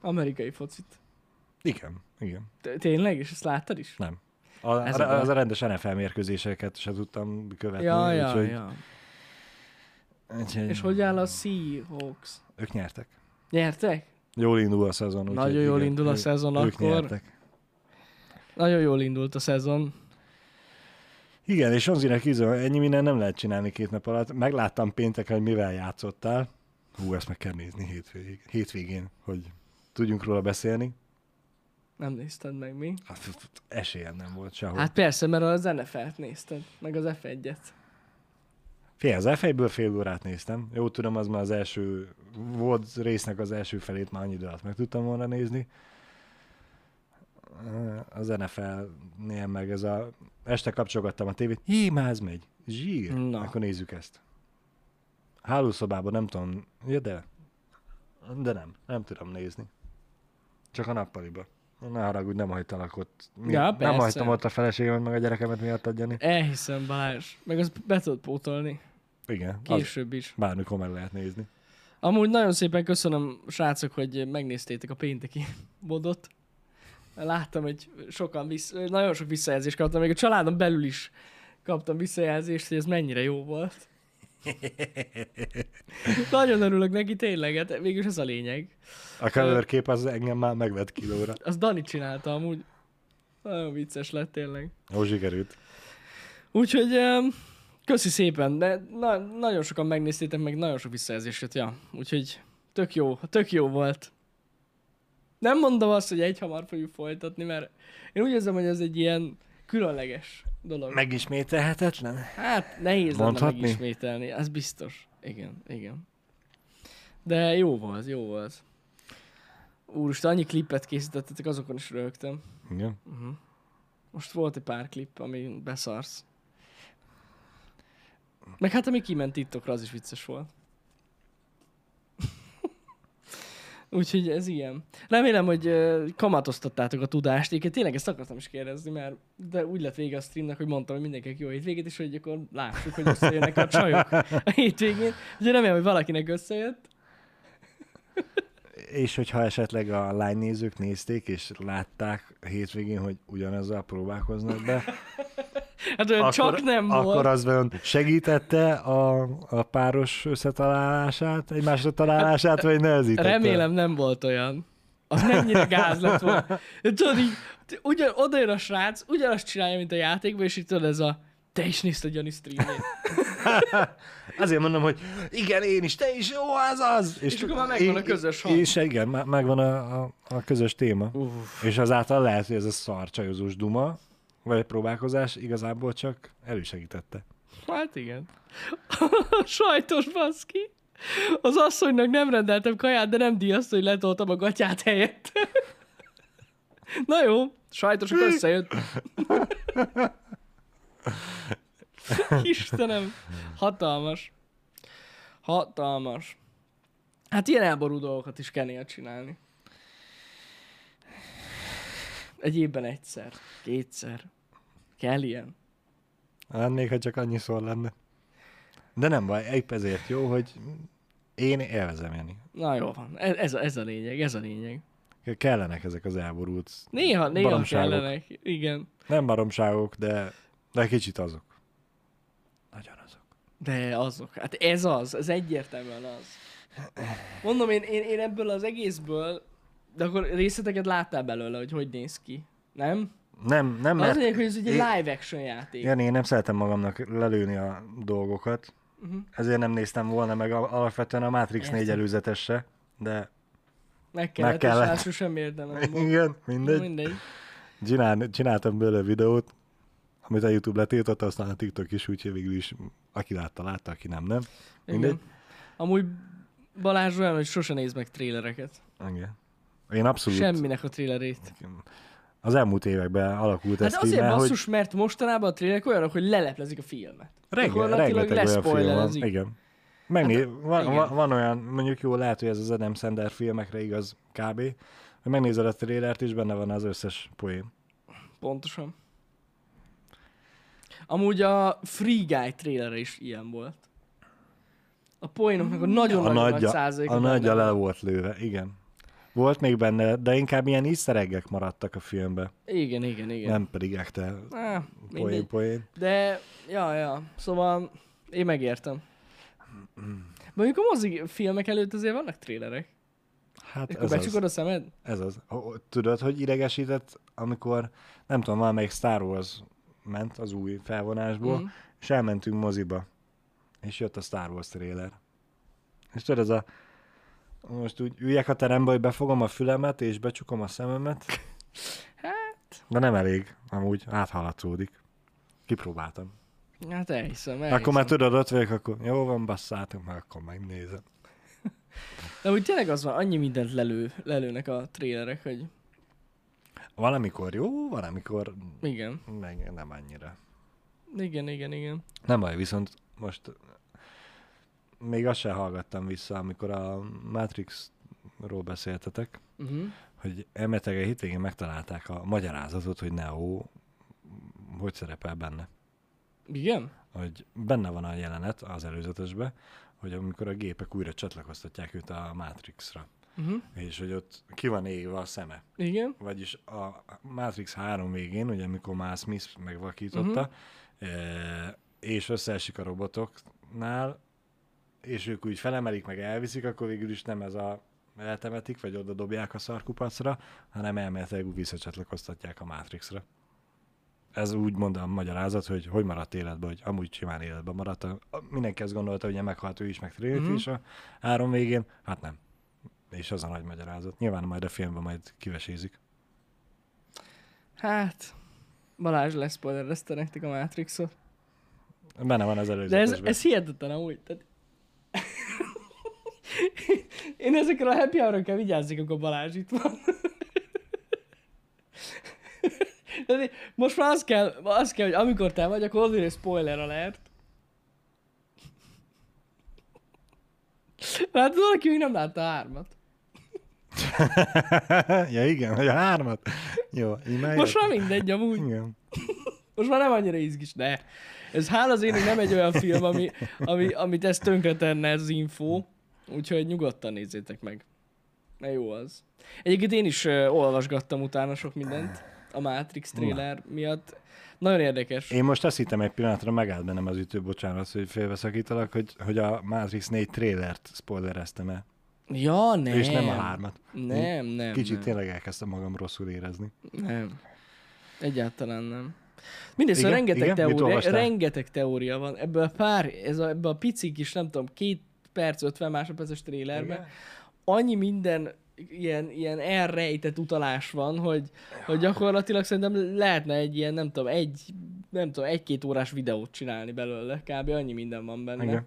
[SPEAKER 1] Amerikai focit.
[SPEAKER 2] Igen, igen.
[SPEAKER 1] T- Tényleg? És ezt láttad is?
[SPEAKER 2] A, a,
[SPEAKER 1] Ez a baj.
[SPEAKER 2] az a rendes NFL mérkőzéseket sem tudtam követni.
[SPEAKER 1] Ja, ja,
[SPEAKER 2] úgyhogy,
[SPEAKER 1] ja.
[SPEAKER 2] Úgyhogy,
[SPEAKER 1] És hogy áll a Seahawks?
[SPEAKER 2] Ők nyertek.
[SPEAKER 1] Nyertek?
[SPEAKER 2] Jól indul a szezon.
[SPEAKER 1] Nagyon
[SPEAKER 2] úgyhogy
[SPEAKER 1] jól
[SPEAKER 2] igen,
[SPEAKER 1] indul a
[SPEAKER 2] ők-
[SPEAKER 1] szezon
[SPEAKER 2] Ők
[SPEAKER 1] akkor.
[SPEAKER 2] nyertek.
[SPEAKER 1] Nagyon jól indult a szezon.
[SPEAKER 2] Igen, és Onzinek izom, ennyi minden nem lehet csinálni két nap alatt. Megláttam pénteken, hogy mivel játszottál. Hú, ezt meg kell nézni hétvégén, hétvégén hogy tudjunk róla beszélni.
[SPEAKER 1] Nem nézted meg mi?
[SPEAKER 2] Hát f- f- esélyem nem volt sehol. Hát...
[SPEAKER 1] Hát persze, mert az NFL-t nézted, meg az F1-et.
[SPEAKER 2] Fél, az f fél órát néztem. Jó tudom, az már az első, volt résznek az első felét már annyi idő alatt meg tudtam volna nézni. Az NFL-nél meg ez a... Este kapcsolgattam a tévét. Jé, már ez megy. Zsír.
[SPEAKER 1] Na.
[SPEAKER 2] Na. Akkor nézzük ezt. Hálószobában nem tudom, ja, de, de nem, nem tudom nézni. Csak a nappaliba. Ne haragudj, nem hagytalak ott. Mi,
[SPEAKER 1] Ja,
[SPEAKER 2] nem
[SPEAKER 1] persze.
[SPEAKER 2] hagytam ott a feleségemet, meg a gyerekemet miatt adjani.
[SPEAKER 1] Elhiszem, Balázs. Meg azt be tudod pótolni.
[SPEAKER 2] Igen, az
[SPEAKER 1] Később is.
[SPEAKER 2] bármikor meg lehet nézni.
[SPEAKER 1] Amúgy nagyon szépen köszönöm, srácok, hogy megnéztétek a pénteki bodot. Láttam, hogy sokan visz... nagyon sok visszajelzést kaptam, még a családom belül is kaptam visszajelzést, hogy ez mennyire jó volt. nagyon örülök neki, tényleg, hát végülis ez a lényeg.
[SPEAKER 2] A coverkép az engem már megvett kilóra.
[SPEAKER 1] Az Dani csinálta amúgy. Nagyon vicces lett tényleg.
[SPEAKER 2] Jó sikerült.
[SPEAKER 1] Úgyhogy em, köszi szépen, de na- nagyon sokan megnéztétek, meg nagyon sok visszajelzés jött, ja. Úgyhogy tök jó, tök jó volt. Nem mondom azt, hogy egy hamar fogjuk folytatni, mert én úgy érzem, hogy ez egy ilyen különleges dolog.
[SPEAKER 2] Megismételhetetlen?
[SPEAKER 1] Hát nehéz lenne
[SPEAKER 2] Mondhatni?
[SPEAKER 1] megismételni, ez biztos. Igen, igen. De jó volt, jó volt. Úristen, annyi klipet készítettetek, azokon is röhögtem.
[SPEAKER 2] Igen.
[SPEAKER 1] Most volt egy pár klip, ami beszarsz. Meg hát ami kiment TikTokra, az is vicces volt. Úgyhogy ez ilyen. Remélem, hogy ö, kamatoztattátok a tudást. Én tényleg ezt akartam is kérdezni, mert de úgy lett vége a streamnek, hogy mondtam, hogy mindenkinek jó hétvégét, és hogy akkor lássuk, hogy összejönnek a csajok a hétvégén. Ugye remélem, hogy valakinek összejött.
[SPEAKER 2] És hogyha esetleg a lánynézők nézték, és látták hétvégén, hogy ugyanazzal próbálkoznak be,
[SPEAKER 1] Hát olyan csak nem
[SPEAKER 2] akkor
[SPEAKER 1] volt.
[SPEAKER 2] az vajon segítette a, a páros összetalálását, egymásra találását, vagy nehezítette?
[SPEAKER 1] Remélem nem volt olyan. Az mennyire gáz lett volna. De Tudod, így, t- ugyan, oda jön a srác, ugyanazt csinálja, mint a játékban, és itt tudod ez a te is nézted Jani streamjét.
[SPEAKER 2] Azért mondom, hogy igen, én is, te is, jó, az az!
[SPEAKER 1] És akkor már megvan a közös hang.
[SPEAKER 2] És igen, már megvan a, a, a közös téma.
[SPEAKER 1] Uff.
[SPEAKER 2] És azáltal lehet, hogy ez a szar csajozós duma, vagy próbálkozás igazából csak elősegítette.
[SPEAKER 1] Hát igen. Sajtos baszki. Az asszonynak nem rendeltem kaját, de nem díjazta, hogy letoltam a gatyát helyett. Na jó, sajtosak összejött. Istenem, hatalmas. Hatalmas. Hát ilyen elború dolgokat is kell néha csinálni. Egy évben egyszer, kétszer. Kell ilyen.
[SPEAKER 2] Lennék, Hát ha csak annyi szor lenne. De nem baj, épp ezért jó, hogy én élvezem, Jani.
[SPEAKER 1] Na jó van, e, ez, ez, a, ez a lényeg, ez a lényeg.
[SPEAKER 2] Kellenek ezek az elborult
[SPEAKER 1] Néha, néha
[SPEAKER 2] baromságok.
[SPEAKER 1] kellenek, igen.
[SPEAKER 2] Nem baromságok, de, de kicsit azok. Nagyon azok.
[SPEAKER 1] De azok, hát ez az, ez egyértelműen az. Mondom, én, én, én ebből az egészből, de akkor részleteket láttál belőle, hogy hogy néz ki, nem?
[SPEAKER 2] Nem, nem,
[SPEAKER 1] Az
[SPEAKER 2] mert
[SPEAKER 1] lényeg, hogy ez egy
[SPEAKER 2] én-
[SPEAKER 1] live action játék.
[SPEAKER 2] Jani, én nem szeretem magamnak lelőni a dolgokat,
[SPEAKER 1] Mhm.
[SPEAKER 2] ezért nem néztem volna meg al- alapvetően a Matrix
[SPEAKER 1] Értem.
[SPEAKER 2] 4 előzetesse, de
[SPEAKER 1] Meg kellett, meg
[SPEAKER 2] meg kellett.
[SPEAKER 1] kellett. és másról sem érdemem. volt.
[SPEAKER 2] igen, mindegy.
[SPEAKER 1] Mindegy.
[SPEAKER 2] Csinál, csináltam belőle videót, amit a YouTube letiltott, aztán a TikTok is, úgyhogy végül is aki látta, látta, aki nem, nem. Mindegy.
[SPEAKER 1] Igen. Amúgy Balázs olyan, hogy sose néz meg trélereket.
[SPEAKER 2] Igen. Én abszolút.
[SPEAKER 1] Semminek a trélerét.
[SPEAKER 2] Az elmúlt években alakult
[SPEAKER 1] Hát
[SPEAKER 2] ez így,
[SPEAKER 1] azért
[SPEAKER 2] mert hogy
[SPEAKER 1] basszus, mert mostanában a trélerek olyanok, hogy leleplezik a filmet.
[SPEAKER 2] renge,
[SPEAKER 1] gyakorlatilag
[SPEAKER 2] rengeteg olyan film van.
[SPEAKER 1] leszpoilerezik.
[SPEAKER 2] Igen. Megné- hát, van,
[SPEAKER 1] igen.
[SPEAKER 2] igen. van olyan, mondjuk jó, lehet, hogy ez az Adam Sandler filmekre igaz kb. Hogy megnézed a trélert, és benne van az összes poén.
[SPEAKER 1] Pontosan. Amúgy a Free Guy trélere is ilyen volt. A poénoknak a
[SPEAKER 2] Mm. A
[SPEAKER 1] nagyon-nagyon nagy
[SPEAKER 2] nagyja,
[SPEAKER 1] százaléka.
[SPEAKER 2] a
[SPEAKER 1] benne
[SPEAKER 2] nagyja
[SPEAKER 1] van.
[SPEAKER 2] le volt lőve, igen. Volt még benne, de inkább ilyen isztereggek maradtak a filmbe.
[SPEAKER 1] Igen, igen, igen.
[SPEAKER 2] Igen. Nem pedig ekte
[SPEAKER 1] Á,
[SPEAKER 2] poén,
[SPEAKER 1] mindegy.
[SPEAKER 2] poén.
[SPEAKER 1] De, ja, ja. Szóval én megértem. Mondjuk a mozi filmek előtt azért vannak trélerek.
[SPEAKER 2] Mm. Hát
[SPEAKER 1] Akkor
[SPEAKER 2] ez az,
[SPEAKER 1] becsukod a szemed?
[SPEAKER 2] ez az. Ó, ó, Tudod, hogy idegesített, amikor nem tudom, valamelyik Star Wars ment az új felvonásból,
[SPEAKER 1] Mhm.
[SPEAKER 2] és elmentünk moziba, és jött a Star Wars trailer. És tudod, ez a... Most úgy üljek a terembe, hogy befogom a fülemet, és becsukom a szememet. Hát... De nem elég, amúgy áthaladszódik. Kipróbáltam.
[SPEAKER 1] Hát elhiszem, elhiszem.
[SPEAKER 2] Elhiszem. Akkor már tudod, ott vagyok, akkor jó van, basszátok, meg akkor megnézem.
[SPEAKER 1] De úgy tényleg az van, annyi mindent lelő, lelőnek a trélerek, hogy
[SPEAKER 2] Valamikor jó, valamikor
[SPEAKER 1] igen,
[SPEAKER 2] meg nem annyira.
[SPEAKER 1] igen, igen, igen.
[SPEAKER 2] Nem baj, viszont most még azt sem hallgattam vissza, amikor a Matrixról beszéltetek,
[SPEAKER 1] Uh-huh.
[SPEAKER 2] hogy elmeteg a hétvégén megtalálták a magyarázatot, hogy Neo hogy szerepel benne.
[SPEAKER 1] Igen?
[SPEAKER 2] Hogy benne van a jelenet az előzetesbe, hogy amikor a gépek újra csatlakoztatják őt a Matrixra,
[SPEAKER 1] Uh-huh.
[SPEAKER 2] és hogy ott ki van égve a szeme.
[SPEAKER 1] Igen?
[SPEAKER 2] Vagyis a Matrix 3 végén, ugye amikor már Smith megvakította, uh-huh. és összeesik a robotoknál, és ők úgy felemelik, meg elviszik, akkor végül is nem ez a eltemetik, vagy oda dobják a szarkupacra, hanem elméletileg úgy visszacsatlakoztatják a Matrixra. Ez úgy mondom a magyarázat, hogy hogy maradt életben, hogy amúgy simán életben maradt. A- a- Mindenki azt gondolta, hogy meghalt ő is, meg Trinity
[SPEAKER 1] Mhm.
[SPEAKER 2] is a három végén. Hát nem. És az a nagy magyarázat. Nyilván majd a filmben majd kivesézik.
[SPEAKER 1] Hát, Balázs leszpoilerezte nektek a Matrixot.
[SPEAKER 2] Benne van az
[SPEAKER 1] De ez,
[SPEAKER 2] előzetesben.
[SPEAKER 1] ez hihetetlen amúgy. Tehát... Én ezekre a happy hour kell vigyázzak, amikor Balázs itt van. Tehát én- Most már az kell, az kell, hogy amikor te vagy, akkor azért egy spoiler alert. Hát az aki még nem látta a hármat.
[SPEAKER 2] ja igen, hogy a hármat. Jó, imádjuk.
[SPEAKER 1] Most már mindegy, amúgy.
[SPEAKER 2] Igen.
[SPEAKER 1] Most már nem annyira izgis, ne. Ez hála az én, hogy nem egy olyan film, ami, ami, amit ezt tönkretenne ez az info. Úgyhogy nyugodtan nézzétek meg. Na jó az. Egyébként én is uh, olvasgattam utána sok mindent a Matrix trailer miatt. Nagyon érdekes.
[SPEAKER 2] Én most azt hittem egy pillanatra megállt bennem az ütő, bocsánat, hogy félbeszakítalak, hogy, hogy a Matrix 4 trailert spoilereztem el,
[SPEAKER 1] Ja, nem.
[SPEAKER 2] és nem a hármat.
[SPEAKER 1] Nem, nem.
[SPEAKER 2] Kicsit
[SPEAKER 1] nem.
[SPEAKER 2] tényleg elkezdtem magam rosszul érezni.
[SPEAKER 1] Nem. Egyáltalán nem. Mindegy, szóval
[SPEAKER 2] Igen?
[SPEAKER 1] rengeteg,
[SPEAKER 2] Igen? Mit
[SPEAKER 1] Teória,
[SPEAKER 2] olvastál?
[SPEAKER 1] rengeteg teória van. Ebből a pár, ez a, ebbe a pici kis, nem tudom, két perc, 50 másodperces trélerben, annyi minden ilyen, ilyen elrejtett utalás van, hogy, hogy gyakorlatilag szerintem lehetne egy ilyen, nem tudom, egy, nem tudom, egy-két órás videót csinálni belőle, kb. annyi minden van benne,
[SPEAKER 2] Igen.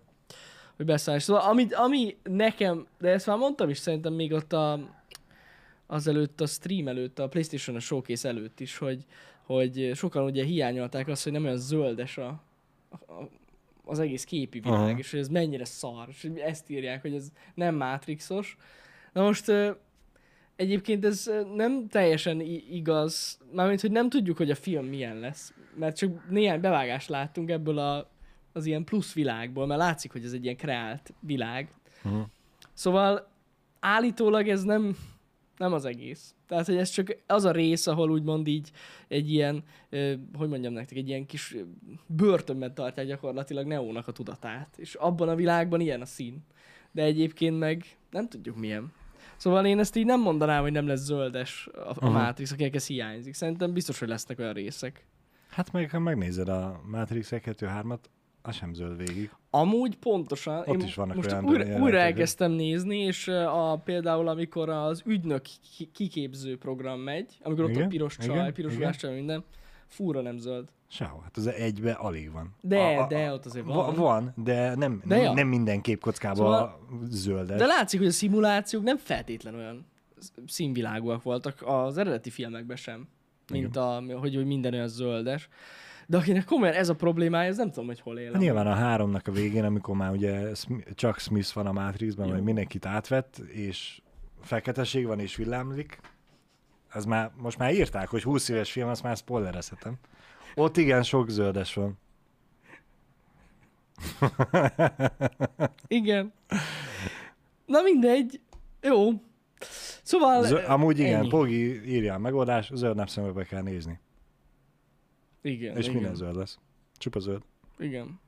[SPEAKER 1] hogy beszállás. Szóval, ami, ami nekem, de ezt már mondtam is szerintem még ott a, azelőtt a stream előtt, a Playstation a showcase előtt is, hogy, hogy sokan ugye hiányolták azt, hogy nem olyan zöldes a, a, a az egész képi világ,
[SPEAKER 2] Aha.
[SPEAKER 1] és hogy ez mennyire szar, és hogy ezt írják, hogy ez nem Matrixos. Na most ö, Egyébként ez ö, nem teljesen i- igaz, mármint, hogy nem tudjuk, hogy a film milyen lesz, mert csak néhány bevágást láttunk ebből a, az ilyen plusz világból, mert látszik, hogy ez egy ilyen kreált világ.
[SPEAKER 2] Mhm.
[SPEAKER 1] Szóval állítólag ez nem, nem az egész. Tehát, hogy ez csak az a rész, ahol úgymond így egy ilyen, ö, hogy mondjam nektek, egy ilyen kis ö, börtönben tartják gyakorlatilag Neónak a tudatát. És abban a világban ilyen a szín. De egyébként meg nem tudjuk milyen. Szóval én ezt így nem mondanám, hogy nem lesz zöldes a, a
[SPEAKER 2] Aha.
[SPEAKER 1] Matrix, akinek ez hiányzik. Szerintem biztos, hogy lesznek olyan részek.
[SPEAKER 2] Hát meg, ha megnézed a Matrix 2-3-at, az sem zöld végig.
[SPEAKER 1] Amúgy pontosan.
[SPEAKER 2] Ott is vannak
[SPEAKER 1] most
[SPEAKER 2] olyan
[SPEAKER 1] újra,
[SPEAKER 2] jelenetek,
[SPEAKER 1] újra
[SPEAKER 2] hogy-
[SPEAKER 1] elkezdtem nézni, és ö, a, például amikor az ügynök ki- kiképző program megy, amikor ott
[SPEAKER 2] Igen,
[SPEAKER 1] a piros csaj,
[SPEAKER 2] igen,
[SPEAKER 1] piros
[SPEAKER 2] igen.
[SPEAKER 1] ruhás csaj, minden, fúra nem zöld.
[SPEAKER 2] Sehol. Hát az egybe alig van.
[SPEAKER 1] De,
[SPEAKER 2] a, a,
[SPEAKER 1] de, ott azért
[SPEAKER 2] Van,
[SPEAKER 1] van.
[SPEAKER 2] van de nem,
[SPEAKER 1] De
[SPEAKER 2] nem,
[SPEAKER 1] ja.
[SPEAKER 2] nem minden képkockában
[SPEAKER 1] Szóval-
[SPEAKER 2] szóval... zöldes.
[SPEAKER 1] De látszik, hogy a szimulációk nem feltétlen olyan sz- színvilágúak voltak az eredeti filmekben sem, mint a, hogy, hogy minden olyan zöldes. De akinek komolyan ez a problémája, ez nem tudom, hogy hol él.
[SPEAKER 2] Hát Nyilván a háromnak a végén, amikor már ugye Sm- csak Smith van a Matrixban,
[SPEAKER 1] Jó.
[SPEAKER 2] vagy mindenkit átvett, és feketeség van és villámlik, az már, most már írták, hogy 20 éves film, azt már spoilerezhetem. Ott igen, sok zöldes van.
[SPEAKER 1] Igen. Na mindegy. Jó. Szóval...
[SPEAKER 2] Zö- amúgy igen,
[SPEAKER 1] ennyi.
[SPEAKER 2] Pogi írja a megoldás, zöld napszemekbe kell nézni.
[SPEAKER 1] Igen,
[SPEAKER 2] és
[SPEAKER 1] igen.
[SPEAKER 2] minden zöld lesz. Csupa zöld.
[SPEAKER 1] Igen.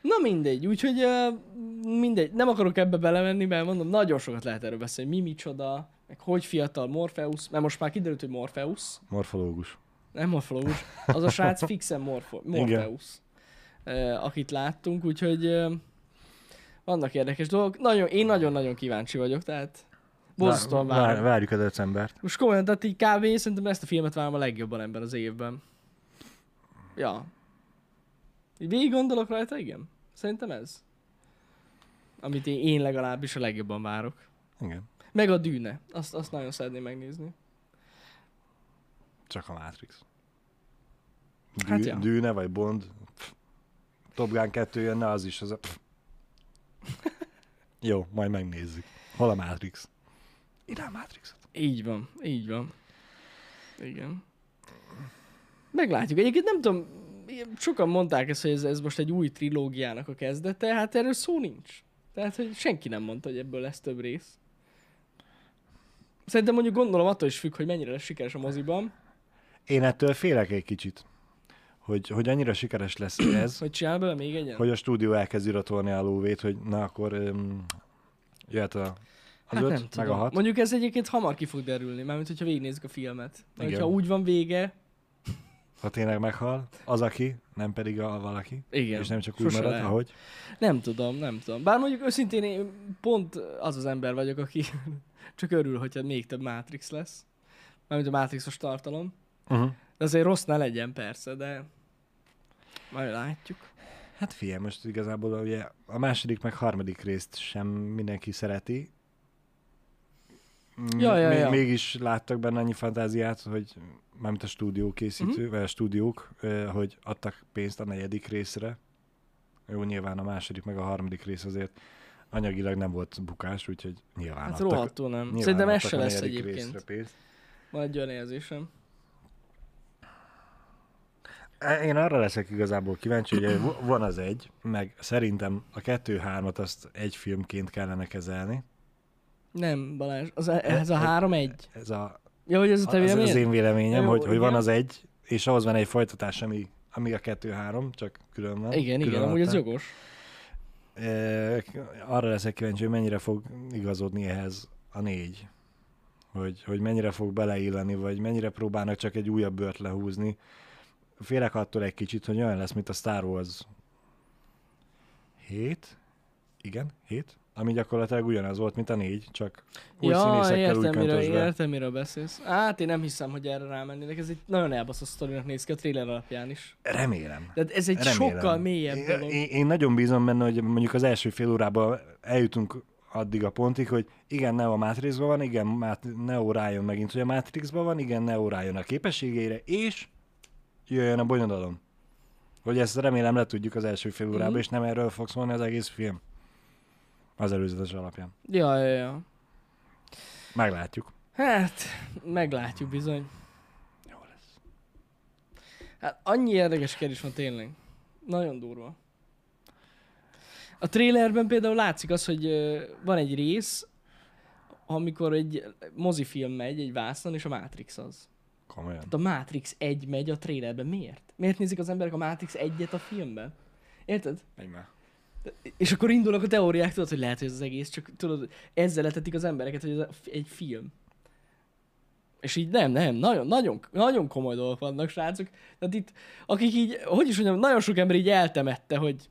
[SPEAKER 1] Na mindegy, úgyhogy uh, mindegy, nem akarok ebbe belemenni, mert mondom, nagyon sokat lehet erről beszélni, mi micsoda, meg hogy fiatal Morpheus, mert most már kiderült, hogy Morpheus,
[SPEAKER 2] Morfológus.
[SPEAKER 1] nem Morpheus, az a srác fixen Morfo- Morpheus, uh, akit láttunk, úgyhogy uh, vannak érdekes dolgok. Nagyon, én nagyon-nagyon kíváncsi vagyok, tehát borzasztóan
[SPEAKER 2] Vá- vár-
[SPEAKER 1] várom.
[SPEAKER 2] Várjuk a decembert.
[SPEAKER 1] Most komolyan, tehát így kb. szerintem ezt a filmet várom a legjobban ebben az évben. Ja. Így végig gondolok rajta, igen. Szerintem ez. Amit én, én legalábbis a legjobban várok.
[SPEAKER 2] Igen.
[SPEAKER 1] Meg a dűne. Azt, azt nagyon szeretném megnézni.
[SPEAKER 2] Csak a Matrix. Dű-
[SPEAKER 1] Hát ja.
[SPEAKER 2] Dűne vagy Bond. Pff. Top Gun 2 jönne, az is az a... Pff. Jó, majd megnézzük. Hol a Matrix? Ide a Matrixot.
[SPEAKER 1] Így van, így van. Igen. Meglátjuk. Egyébként nem tudom, sokan mondták ezt, hogy ez, ez most egy új trilógiának a kezdete, hát erről szó nincs. Tehát, hogy senki nem mondta, hogy ebből lesz több rész. Szerintem mondjuk gondolom attól is függ, hogy mennyire lesz sikeres a moziban,
[SPEAKER 2] Én ettől félek egy kicsit, hogy, hogy annyira sikeres lesz ez,
[SPEAKER 1] hogy csinál bele még egyen.
[SPEAKER 2] hogy a stúdió elkezd iratolni a lóvét, hogy na akkor um, jöhet a, az
[SPEAKER 1] hát
[SPEAKER 2] öt,
[SPEAKER 1] nem
[SPEAKER 2] meg
[SPEAKER 1] tudom.
[SPEAKER 2] a hat.
[SPEAKER 1] Mondjuk ez egyébként hamar ki fog derülni, mármint hogyha végignézzük a filmet. Mert
[SPEAKER 2] Igen.
[SPEAKER 1] hogyha úgy van vége,
[SPEAKER 2] Ha tényleg meghal, az aki, nem pedig a valaki.
[SPEAKER 1] igen.
[SPEAKER 2] És nem csak úgy
[SPEAKER 1] Sose
[SPEAKER 2] marad,
[SPEAKER 1] lehet.
[SPEAKER 2] ahogy.
[SPEAKER 1] Nem tudom, nem tudom. Bár mondjuk őszintén én pont az az ember vagyok, aki csak örül, hogyha még több Matrix lesz. Mármint a Matrixos tartalom.
[SPEAKER 2] Uh-huh.
[SPEAKER 1] De azért rossz ne legyen persze, de majd látjuk.
[SPEAKER 2] Hát figyelj, most igazából ugye a második meg harmadik részt sem mindenki szereti. M-
[SPEAKER 1] Ja, ja,
[SPEAKER 2] mé-
[SPEAKER 1] ja.
[SPEAKER 2] Mégis láttak benne annyi fantáziát, hogy mármint a stúdió készítő,
[SPEAKER 1] Mhm.
[SPEAKER 2] uh-huh. vagy a stúdiók, ö, hogy adtak pénzt a negyedik részre. Jó, nyilván a második meg a harmadik rész azért anyagilag nem volt bukás, úgyhogy nyilván
[SPEAKER 1] Hát
[SPEAKER 2] adtak.
[SPEAKER 1] rohadtul nem.
[SPEAKER 2] nyilván
[SPEAKER 1] Szerintem ez
[SPEAKER 2] adtak
[SPEAKER 1] se
[SPEAKER 2] a
[SPEAKER 1] lesz
[SPEAKER 2] negyedik
[SPEAKER 1] egyébként.
[SPEAKER 2] részre pénzt.
[SPEAKER 1] Van egy olyan érzésem.
[SPEAKER 2] Én arra leszek igazából kíváncsi, hogy v- van az egy, meg szerintem a kettő-hármat azt egy filmként kellene kezelni.
[SPEAKER 1] Nem, Balázs, az, e- ez a három egy.
[SPEAKER 2] Ez a,
[SPEAKER 1] Ja, hogy ez a te
[SPEAKER 2] Hát, az, az
[SPEAKER 1] véleményed?
[SPEAKER 2] én véleményem,
[SPEAKER 1] Jó,
[SPEAKER 2] hogy, hogy van
[SPEAKER 1] igen.
[SPEAKER 2] az egy, és ahhoz van egy folytatás, ami, ami a kettő-három, csak külön van.
[SPEAKER 1] Igen,
[SPEAKER 2] külön
[SPEAKER 1] igen, amúgy ez
[SPEAKER 2] adták.
[SPEAKER 1] jogos.
[SPEAKER 2] Ö, Arra leszek kíváncsi, hogy mennyire fog igazodni ehhez a négy. Hogy, hogy mennyire fog beleilleni, vagy mennyire próbálnak csak egy újabb bört lehúzni. Félek attól egy kicsit, hogy olyan lesz, mint a Star Wars 7. Igen, 7. Ami gyakorlatilag ugyanaz volt, mint a négy, csak új ja,
[SPEAKER 1] Ja,
[SPEAKER 2] színészekkel, új
[SPEAKER 1] értem miről,
[SPEAKER 2] köntösbe.
[SPEAKER 1] értem, miről beszélsz. Hát én nem hiszem, hogy erre rámennének. Ez egy nagyon elbaszott sztorinak néz ki a trailer alapján is.
[SPEAKER 2] Remélem.
[SPEAKER 1] Tehát ez egy
[SPEAKER 2] Remélem.
[SPEAKER 1] sokkal mélyebb
[SPEAKER 2] én,
[SPEAKER 1] dolog.
[SPEAKER 2] Én, én nagyon bízom benne, hogy mondjuk az első fél órában eljutunk addig a pontig, hogy igen, Neo a Matrixban van, igen, Mát- Neo rájön megint, hogy a Matrixban van, igen, Neo rájön a képességére, és jöjjön a bonyodalom. Hogy ezt remélem le tudjuk az első fél órában,
[SPEAKER 1] Mhm.
[SPEAKER 2] mm. és nem erről fog szólni az egész film. Az előzetes alapján.
[SPEAKER 1] Ja, ja, ja.
[SPEAKER 2] Meglátjuk.
[SPEAKER 1] Hát, meglátjuk bizony.
[SPEAKER 2] Jó lesz.
[SPEAKER 1] Hát annyi érdekes kérdés van tényleg. Nagyon durva. A trailerben például látszik az, hogy ö, van egy rész, amikor egy mozifilm megy egy vászon, és a Matrix az.
[SPEAKER 2] Komolyan.
[SPEAKER 1] Tehát a Matrix 1 megy a trailerben. Miért? Miért nézik az emberek a Matrix 1-et a filmben? Érted?
[SPEAKER 2] Menj már.
[SPEAKER 1] És akkor indulnak a teóriák, tudod, hogy lehet, hogy ez az egész, csak tudod, ezzel letetik az embereket, hogy ez a- egy film. És így nem, nem, nagyon, nagyon, nagyon komoly dolgok vannak, srácok. Tehát itt, akik így, hogy is mondjam, nagyon sok ember így eltemette, hogy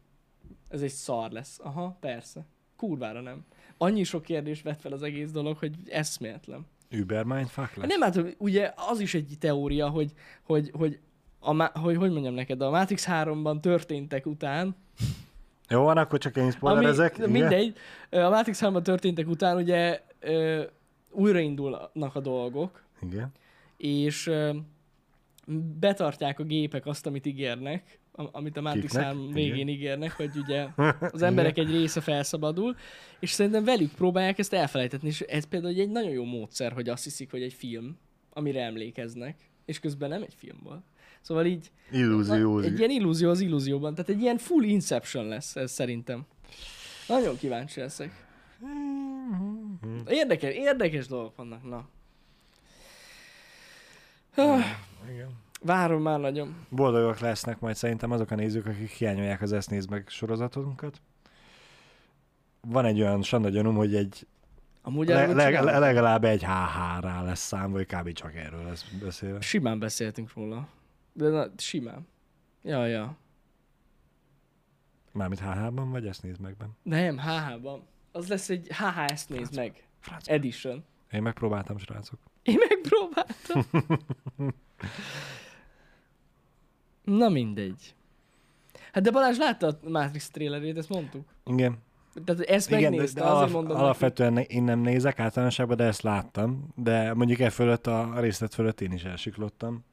[SPEAKER 1] ez egy szar lesz. Aha, persze. Kurvára nem. Annyi sok kérdés vett fel az egész dolog, hogy eszméletlen.
[SPEAKER 2] Uber mindfuck
[SPEAKER 1] Hát
[SPEAKER 2] lesz?
[SPEAKER 1] nem, hát ugye az is egy teória, hogy, hogy, hogy, a, má- hogy, hogy mondjam neked, a Matrix 3-ban történtek után,
[SPEAKER 2] Jó van, akkor csak én spoilerezek. igen?
[SPEAKER 1] Mindegy. Ö, A Matrix 3 történtek után ugye ö, újraindulnak a dolgok,
[SPEAKER 2] Igen.
[SPEAKER 1] és ö, betartják a gépek azt, amit ígérnek, am- amit a Matrix
[SPEAKER 2] Kiknek?
[SPEAKER 1] 3
[SPEAKER 2] Igen.
[SPEAKER 1] végén ígérnek, hogy ugye az emberek egy része felszabadul, és szerintem velük próbálják ezt elfelejtetni, és ez például egy nagyon jó módszer, hogy azt hiszik, hogy egy film, amire emlékeznek, és közben nem egy film volt. Szóval így
[SPEAKER 2] Illúziózik.
[SPEAKER 1] egy ilyen illúzió az illúzióban. Tehát egy ilyen full Inception lesz ez szerintem. Nagyon kíváncsi leszek. Érdekes, érdekes dolgok vannak, na. Ah,
[SPEAKER 2] Igen.
[SPEAKER 1] Várom már nagyon.
[SPEAKER 2] Boldogok lesznek majd szerintem azok a nézők, akik hiányolják az Ezt Nézd Meg sorozatunkat. Van egy olyan sanda gyanúm, hogy egy
[SPEAKER 1] Amúgy
[SPEAKER 2] le,
[SPEAKER 1] erről
[SPEAKER 2] le,
[SPEAKER 1] csinálunk?
[SPEAKER 2] le, legalább egy HH rá lesz szám, vagy kb. csak erről lesz beszélve.
[SPEAKER 1] Simán beszéltünk róla. De na, simán. Ja, ja.
[SPEAKER 2] Mármint HH-ban, vagy Ezt Nézd Megben.
[SPEAKER 1] Nem, HH-ban. Az lesz egy HH, ezt
[SPEAKER 2] Hát.
[SPEAKER 1] nézd meg.
[SPEAKER 2] Franc.
[SPEAKER 1] Edition.
[SPEAKER 2] Én megpróbáltam, srácok.
[SPEAKER 1] Én megpróbáltam. Na mindegy. Hát de Balázs látta a Matrix trailerét, ezt mondtuk.
[SPEAKER 2] Igen.
[SPEAKER 1] Tehát ezt
[SPEAKER 2] Igen, de,
[SPEAKER 1] megnézte,
[SPEAKER 2] de
[SPEAKER 1] azért
[SPEAKER 2] alap,
[SPEAKER 1] mondom.
[SPEAKER 2] alapvetően én nem nézek általánosában, de ezt láttam. De mondjuk e fölött a részlet fölött én is elsiklottam.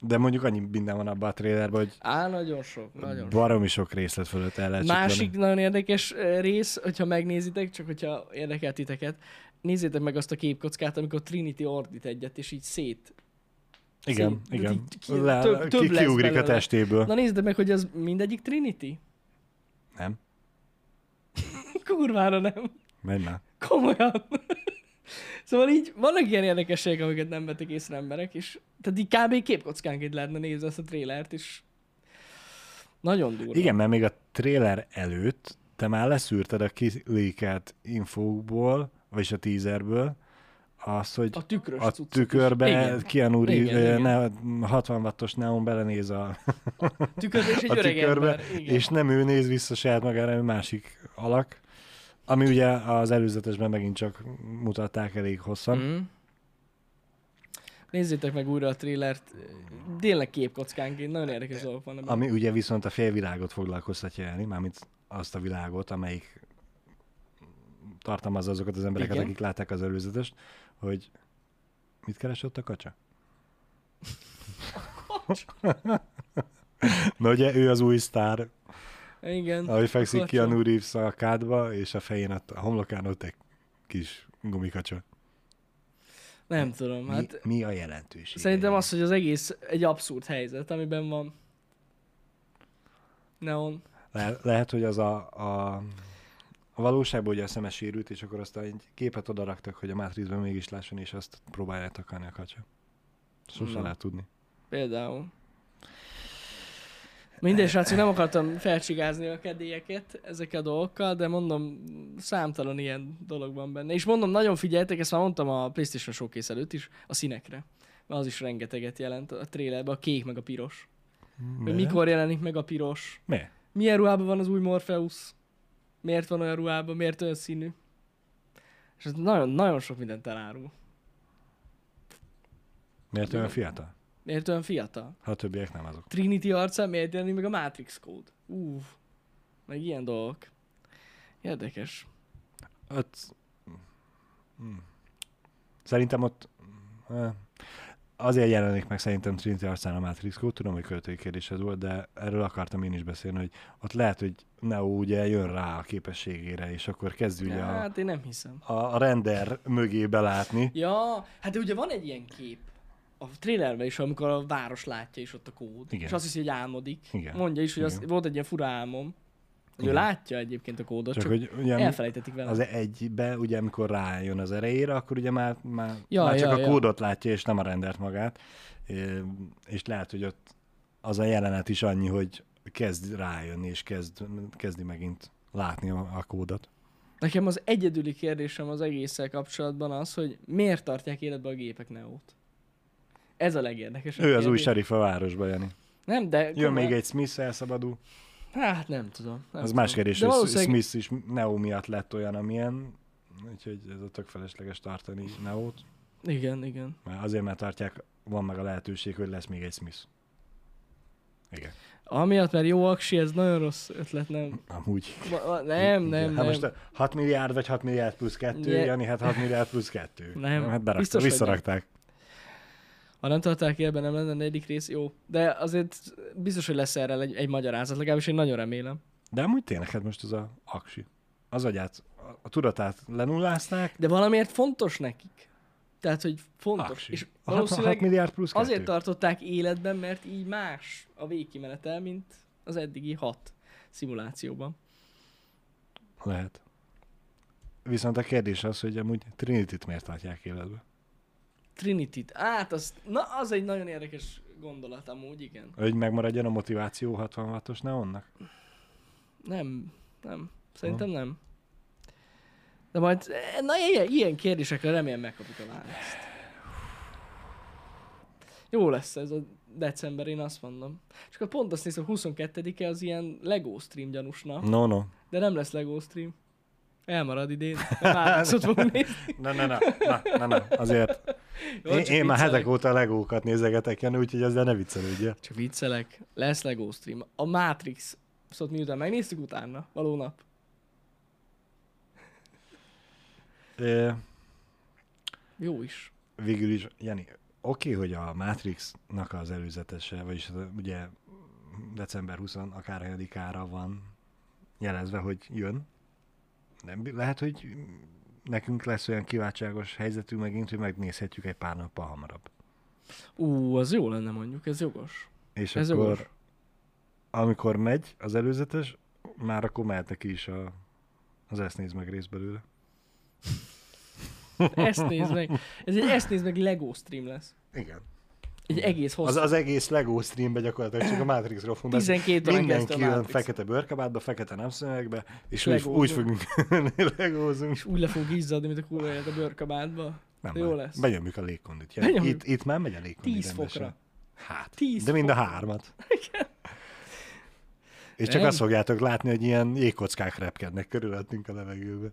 [SPEAKER 2] De mondjuk annyi minden van abban a trailerben, hogy
[SPEAKER 1] Neki. Á, nagyon sok, nagyon sok.
[SPEAKER 2] baromi sok részlet fölött el lehet
[SPEAKER 1] Másik
[SPEAKER 2] siklani.
[SPEAKER 1] nagyon érdekes eh, rész, hogyha megnézitek, csak hogyha érdekel titeket, nézzétek meg azt a képkockát, amikor Trinity ordít egyet, és így szét.
[SPEAKER 2] Igen,
[SPEAKER 1] szét-
[SPEAKER 2] igen.
[SPEAKER 1] így ki-
[SPEAKER 2] Le,
[SPEAKER 1] több-
[SPEAKER 2] több,
[SPEAKER 1] több
[SPEAKER 2] ki,
[SPEAKER 1] lesz
[SPEAKER 2] kiugrik a
[SPEAKER 1] belőle.
[SPEAKER 2] testéből.
[SPEAKER 1] Na nézzétek meg, hogy az mindegyik Trinity?
[SPEAKER 2] Nem?
[SPEAKER 1] Kurvára nem.
[SPEAKER 2] Menj már.
[SPEAKER 1] Komolyan. szóval így vannak ilyen érdekességek, amiket nem vettek észre emberek, és tehát így kb. képkockánként lehetne nézni ezt a trélert, és nagyon durva.
[SPEAKER 2] Igen, mert még a trailer előtt te már leszűrted a kilékelt infókból, vagyis a teaserből, azt, hogy
[SPEAKER 1] A tükrös
[SPEAKER 2] a
[SPEAKER 1] cuccok is.
[SPEAKER 2] tükörbe
[SPEAKER 1] Igen.
[SPEAKER 2] Keanu
[SPEAKER 1] Igen,
[SPEAKER 2] Reeves,
[SPEAKER 1] igen.
[SPEAKER 2] ne- 60 wattos neon belenéz a,
[SPEAKER 1] Tükörbe és egy
[SPEAKER 2] a
[SPEAKER 1] öreg
[SPEAKER 2] tükörbe,
[SPEAKER 1] ember. Igen.
[SPEAKER 2] és nem ő néz vissza saját magára, ő másik alak, ami ugye az előzetesben megint csak mutatták elég hosszan. Mm.
[SPEAKER 1] Mm. Nézzétek meg újra a trélert. Tényleg képkockánként, nagyon érdekes dolgok vannak. benne.
[SPEAKER 2] Ami ugye viszont a félvilágot foglalkoztatja elni, mármint azt a világot, amelyik tartalmazza azokat az embereket,
[SPEAKER 1] Igen.
[SPEAKER 2] akik látták az előzetest, hogy mit keresett a kacsa? Na ugye ő az új sztár,
[SPEAKER 1] Igen.
[SPEAKER 2] ahogy fekszik
[SPEAKER 1] Kacsa.
[SPEAKER 2] ki a Reeves a kádba, és a fején, ott- a homlokán ott egy kis gumikacsa.
[SPEAKER 1] Nem tudom,
[SPEAKER 2] Mi,
[SPEAKER 1] hát
[SPEAKER 2] mi a jelentőség?
[SPEAKER 1] szerintem az, hogy az egész egy abszurd helyzet, amiben van. Neon.
[SPEAKER 2] Le- lehet, hogy az a, a, a valóságban ugye a szeme sérült, és akkor aztán egy képet odaraktak, hogy a Matrixban mégis lásson, és azt próbálják takarni a kacsa. Sose
[SPEAKER 1] Na.
[SPEAKER 2] lehet tudni.
[SPEAKER 1] Például. Mindegy, srácok, nem akartam felcsigázni a kedélyeket ezekkel a dolgokkal, de mondom, számtalan ilyen dolog van benne. És mondom, nagyon figyeltek, ezt már mondtam a PlayStation Showcase előtt is, a színekre. Mert az is rengeteget jelent a trailerben, a kék meg a piros. Hogy mikor jelenik meg a piros,
[SPEAKER 2] Mi?
[SPEAKER 1] milyen ruhában van az új Morpheus, miért van olyan ruhában, miért olyan színű. És ez nagyon-nagyon sok mindent elárul.
[SPEAKER 2] Miért olyan fiatal?
[SPEAKER 1] Miért olyan fiatal?
[SPEAKER 2] Ha a többiek nem azok.
[SPEAKER 1] Trinity arcán miért jelenik meg a Matrix kód? Uff, meg ilyen dolgok. Érdekes.
[SPEAKER 2] Hmm. Ott... Mm. Szerintem ott... eh, azért jelenik meg szerintem Trinity arcán a Matrix Code, tudom, hogy költői kérdés ez volt, de erről akartam én is beszélni, hogy ott lehet, hogy Neo ugye jön rá a képességére, és akkor kezd ugye a,
[SPEAKER 1] Hát én nem hiszem.
[SPEAKER 2] a, a render mögé belátni.
[SPEAKER 1] Ja, hát de ugye van egy ilyen kép a trailerben is, amikor a város látja és ott a kód.
[SPEAKER 2] Igen.
[SPEAKER 1] És azt hiszi, hogy álmodik.
[SPEAKER 2] Igen.
[SPEAKER 1] Mondja is, hogy az,
[SPEAKER 2] Igen.
[SPEAKER 1] volt egy ilyen fura álmom. Hogy ő
[SPEAKER 2] Igen.
[SPEAKER 1] látja egyébként a kódot, csak,
[SPEAKER 2] Csak,
[SPEAKER 1] csak
[SPEAKER 2] hogy ugye mi-
[SPEAKER 1] elfelejtetik vele.
[SPEAKER 2] az egybe, ugye amikor rájön az erejére, akkor ugye már, már,
[SPEAKER 1] Ja,
[SPEAKER 2] ja, már csak
[SPEAKER 1] ja,
[SPEAKER 2] ja, a
[SPEAKER 1] ja.
[SPEAKER 2] kódot látja, és nem a rendert magát. É, És lehet, hogy ott az a jelenet is annyi, hogy kezd rájönni, és kezd, kezdi megint látni a, a kódot.
[SPEAKER 1] Nekem az egyedüli kérdésem az egésszel kapcsolatban az, hogy miért tartják életbe a gépek Neót? Ez a legérdekesebb
[SPEAKER 2] Ő az új
[SPEAKER 1] kérdés.
[SPEAKER 2] serif a városba, Jani.
[SPEAKER 1] Nem, de...
[SPEAKER 2] Jön
[SPEAKER 1] komolyan-
[SPEAKER 2] még egy Smith elszabadul.
[SPEAKER 1] Hát nem tudom. Nem
[SPEAKER 2] Az
[SPEAKER 1] tudom.
[SPEAKER 2] más kérdés,
[SPEAKER 1] De
[SPEAKER 2] hogy
[SPEAKER 1] valószínűleg...
[SPEAKER 2] Smith is Neo miatt lett olyan, amilyen. Úgyhogy ez a tök felesleges tartani Neót.
[SPEAKER 1] Igen, igen.
[SPEAKER 2] Mert azért, mert tartják, van meg a lehetőség, hogy lesz még egy Smith. Igen.
[SPEAKER 1] Amiatt, mert jó aksi, ez nagyon rossz ötlet, nem?
[SPEAKER 2] Amúgy.
[SPEAKER 1] Va- va- Nem,
[SPEAKER 2] Igen.
[SPEAKER 1] nem,
[SPEAKER 2] Hát
[SPEAKER 1] nem.
[SPEAKER 2] most a 6 milliárd vagy 6 milliárd plusz 2,
[SPEAKER 1] Nye-
[SPEAKER 2] Jani, hát 6 milliárd plusz 2.
[SPEAKER 1] Nem,
[SPEAKER 2] hát berakta,
[SPEAKER 1] biztos,
[SPEAKER 2] biztos,
[SPEAKER 1] hogy
[SPEAKER 2] visszarakták.
[SPEAKER 1] Ha nem tartják életben, nem lenne negyedik rész, jó. De azért biztos, hogy lesz erre egy, egy magyarázat, legalábbis én nagyon remélem.
[SPEAKER 2] De amúgy tényleg, hát most ez a aksi. Az agyát, a- a tudatát lenullázták,
[SPEAKER 1] De valamiért fontos nekik. Tehát, hogy fontos.
[SPEAKER 2] aksi.
[SPEAKER 1] És
[SPEAKER 2] A 6,
[SPEAKER 1] valószínűleg
[SPEAKER 2] milliárd plusz 2.
[SPEAKER 1] Azért tartották életben, mert így más a végkimenetel, mint az eddigi hat szimulációban.
[SPEAKER 2] Lehet. Viszont a kérdés az, hogy amúgy Trinity-t miért tartják életbe?
[SPEAKER 1] Trinity-t. Át, az, na, az egy nagyon érdekes gondolat amúgy, igen.
[SPEAKER 2] Hogy megmaradjon a motiváció 66-os neonnak?
[SPEAKER 1] Nem, nem. Szerintem nem. De majd, na ilyen, ilyen kérdésekre remélem megkapjuk a választ. Jó lesz ez a december, én azt mondom. És akkor pont azt nézem, 22-e az ilyen LEGO stream gyanús nap,
[SPEAKER 2] No, no.
[SPEAKER 1] de nem lesz LEGO stream. Elmarad idén, mert már fogunk nézni.
[SPEAKER 2] Na, na, na, na, na, na. azért.
[SPEAKER 1] Jó,
[SPEAKER 2] én,
[SPEAKER 1] csak
[SPEAKER 2] én már
[SPEAKER 1] viccelek.
[SPEAKER 2] hetek óta a legókat nézegetek, Jani, úgyhogy ezzel ne viccelődjél.
[SPEAKER 1] Csak viccelek. Lesz LEGO stream. A Matrix. Szóval miután megnéztük utána, való nap.
[SPEAKER 2] Ö,
[SPEAKER 1] Jó is.
[SPEAKER 2] Végül is, Jani, oké, hogy a Matrixnak az előzetese, vagyis az, ugye december 20 akárhányadikára van jelezve, hogy jön. Nem, lehet, hogy nekünk lesz olyan kiváltságos helyzetünk megint, hogy megnézhetjük egy pár nappal hamarabb.
[SPEAKER 1] Ú, az jó lenne mondjuk, ez jogos.
[SPEAKER 2] És
[SPEAKER 1] Ez
[SPEAKER 2] ez akkor,
[SPEAKER 1] jogos.
[SPEAKER 2] amikor megy az előzetes, már akkor mehet neki is a, az ezt néz meg rész belőle.
[SPEAKER 1] Ezt nézd meg. Ez egy ezt nézd meg LEGO stream lesz.
[SPEAKER 2] Igen.
[SPEAKER 1] Egy egész
[SPEAKER 2] Az,
[SPEAKER 1] hosszú.
[SPEAKER 2] az egész LEGO streambe gyakorlatilag csak a Matrixról fogunk
[SPEAKER 1] 12 órán
[SPEAKER 2] Mindenki
[SPEAKER 1] keresztül a
[SPEAKER 2] jön
[SPEAKER 1] Matrix.
[SPEAKER 2] fekete bőrkabátba, fekete napszemekbe, és úgy,
[SPEAKER 1] Legózunk.
[SPEAKER 2] úgy fogunk legózunk.
[SPEAKER 1] És úgy le fogunk izzadni, mint a kurva élet a bőrkabádba.
[SPEAKER 2] Nem,
[SPEAKER 1] Jó
[SPEAKER 2] baj.
[SPEAKER 1] lesz.
[SPEAKER 2] Benyomjuk a légkondit. Ja,
[SPEAKER 1] Benyomjuk.
[SPEAKER 2] itt, itt már megy a légkondi
[SPEAKER 1] 10
[SPEAKER 2] rendesen.
[SPEAKER 1] fokra.
[SPEAKER 2] Hát,
[SPEAKER 1] 10
[SPEAKER 2] de mind a
[SPEAKER 1] fokra.
[SPEAKER 2] hármat. És csak
[SPEAKER 1] Nem?
[SPEAKER 2] azt fogjátok látni, hogy ilyen jégkockák repkednek körülöttünk a levegőbe.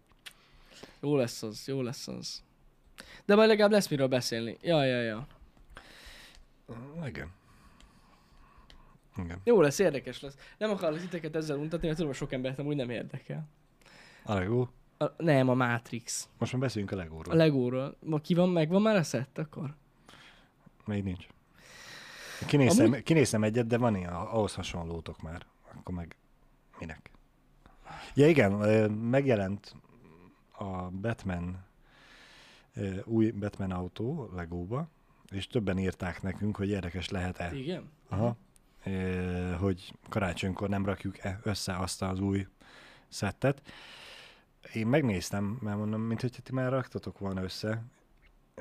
[SPEAKER 1] Jó lesz az, jó lesz az. De majd legalább lesz miről beszélni. Ja, ja, ja.
[SPEAKER 2] Ah, Igen. Igen.
[SPEAKER 1] Jó lesz, érdekes lesz. Nem akarok titeket ezzel untatni, mert tudom, hogy sok embert amúgy nem érdekel.
[SPEAKER 2] A LEGO.
[SPEAKER 1] A, nem, a Matrix.
[SPEAKER 2] Most már beszéljünk a
[SPEAKER 1] A
[SPEAKER 2] legóról.
[SPEAKER 1] Legóról. Ma ki van, megvan már a szett akkor?
[SPEAKER 2] Még nincs. Kinéztem,
[SPEAKER 1] Amúgy-
[SPEAKER 2] kinéztem egyet, de van ilyen, ahhoz hasonlótok már. Akkor meg minek? Ja igen, ö, megjelent a Batman ö, új Batman autó Legóba, és többen írták nekünk, hogy érdekes lehet-e.
[SPEAKER 1] Igen?
[SPEAKER 2] Aha. Ö, hogy karácsonykor nem rakjuk-e össze azt az új szettet. Én megnéztem, mert mondom, mint hogy ti már raktatok volna össze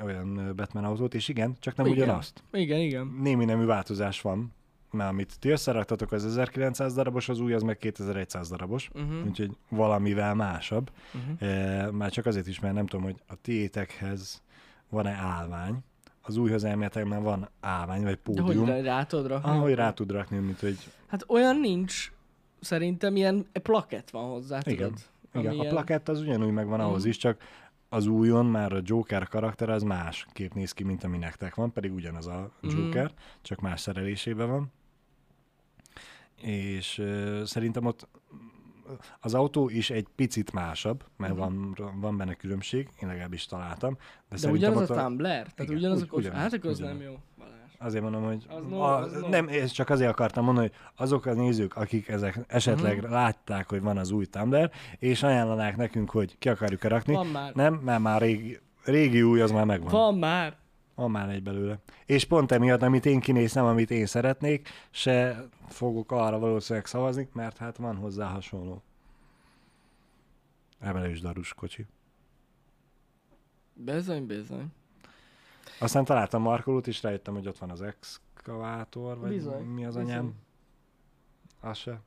[SPEAKER 2] olyan ö, Batman autót, és igen, csak nem
[SPEAKER 1] Igen.
[SPEAKER 2] ugyanazt
[SPEAKER 1] Igen, igen.
[SPEAKER 2] némi nemű változás van, mert amit ti összeraktatok, az 1900 darabos, az új az meg 2100 darabos,
[SPEAKER 1] Uh-huh.
[SPEAKER 2] úgyhogy valamivel másabb.
[SPEAKER 1] Uh-huh.
[SPEAKER 2] E, már csak azért is, mert nem tudom, hogy a tiétekhez van-e állvány. Az újhoz elméletileg már van állvány, vagy
[SPEAKER 1] De hogy
[SPEAKER 2] pódium,
[SPEAKER 1] rá, rá tudod rakni?
[SPEAKER 2] ahogy rá tud rakni, mint hogy
[SPEAKER 1] Hát olyan nincs, szerintem ilyen plakett van hozzá,
[SPEAKER 2] Igen.
[SPEAKER 1] tudod? Ami
[SPEAKER 2] igen, a
[SPEAKER 1] ilyen-
[SPEAKER 2] plakett az ugyanúgy megvan ahhoz
[SPEAKER 1] Mhm.
[SPEAKER 2] is, csak az újon már a Joker karakter az más kép néz ki, mint ami nektek van, pedig ugyanaz a
[SPEAKER 1] Mhm.
[SPEAKER 2] Joker, csak más szerelésében van. És ö, szerintem ott az autó is egy picit másabb, mert van, van benne különbség, én legalábbis találtam. De,
[SPEAKER 1] Mhm. De
[SPEAKER 2] szerintem
[SPEAKER 1] ugyanaz
[SPEAKER 2] ott
[SPEAKER 1] a tumbler? Tehát
[SPEAKER 2] Igen,
[SPEAKER 1] ugyanaz a
[SPEAKER 2] ugy-
[SPEAKER 1] kocs...
[SPEAKER 2] ugyanaz,
[SPEAKER 1] Hát akkor az
[SPEAKER 2] ugyanaz.
[SPEAKER 1] nem jó. Balázs.
[SPEAKER 2] Azért mondom, hogy
[SPEAKER 1] Az
[SPEAKER 2] a,
[SPEAKER 1] no, az no.
[SPEAKER 2] nem, ez csak azért akartam mondani, hogy azok a nézők, akik ezek esetleg
[SPEAKER 1] Mhm.
[SPEAKER 2] uh-huh. látták, hogy van az új Tumblr, és ajánlanák nekünk, hogy ki akarjuk-e rakni.
[SPEAKER 1] Van már.
[SPEAKER 2] Nem, mert már régi, régi új, az már megvan. Van.
[SPEAKER 1] Van már.
[SPEAKER 2] van már egy belőle. És pont emiatt, amit én kinéztem, amit én szeretnék, se fogok arra valószínűleg szavazni, mert hát van hozzá hasonló. Emelős darus kocsi.
[SPEAKER 1] Bizony, bizony.
[SPEAKER 2] Aztán találtam Markolót, és rájöttem, hogy ott van az exkavátor, vagy
[SPEAKER 1] Bizony,
[SPEAKER 2] bizony, mi az
[SPEAKER 1] bizony.
[SPEAKER 2] anyám. Az se.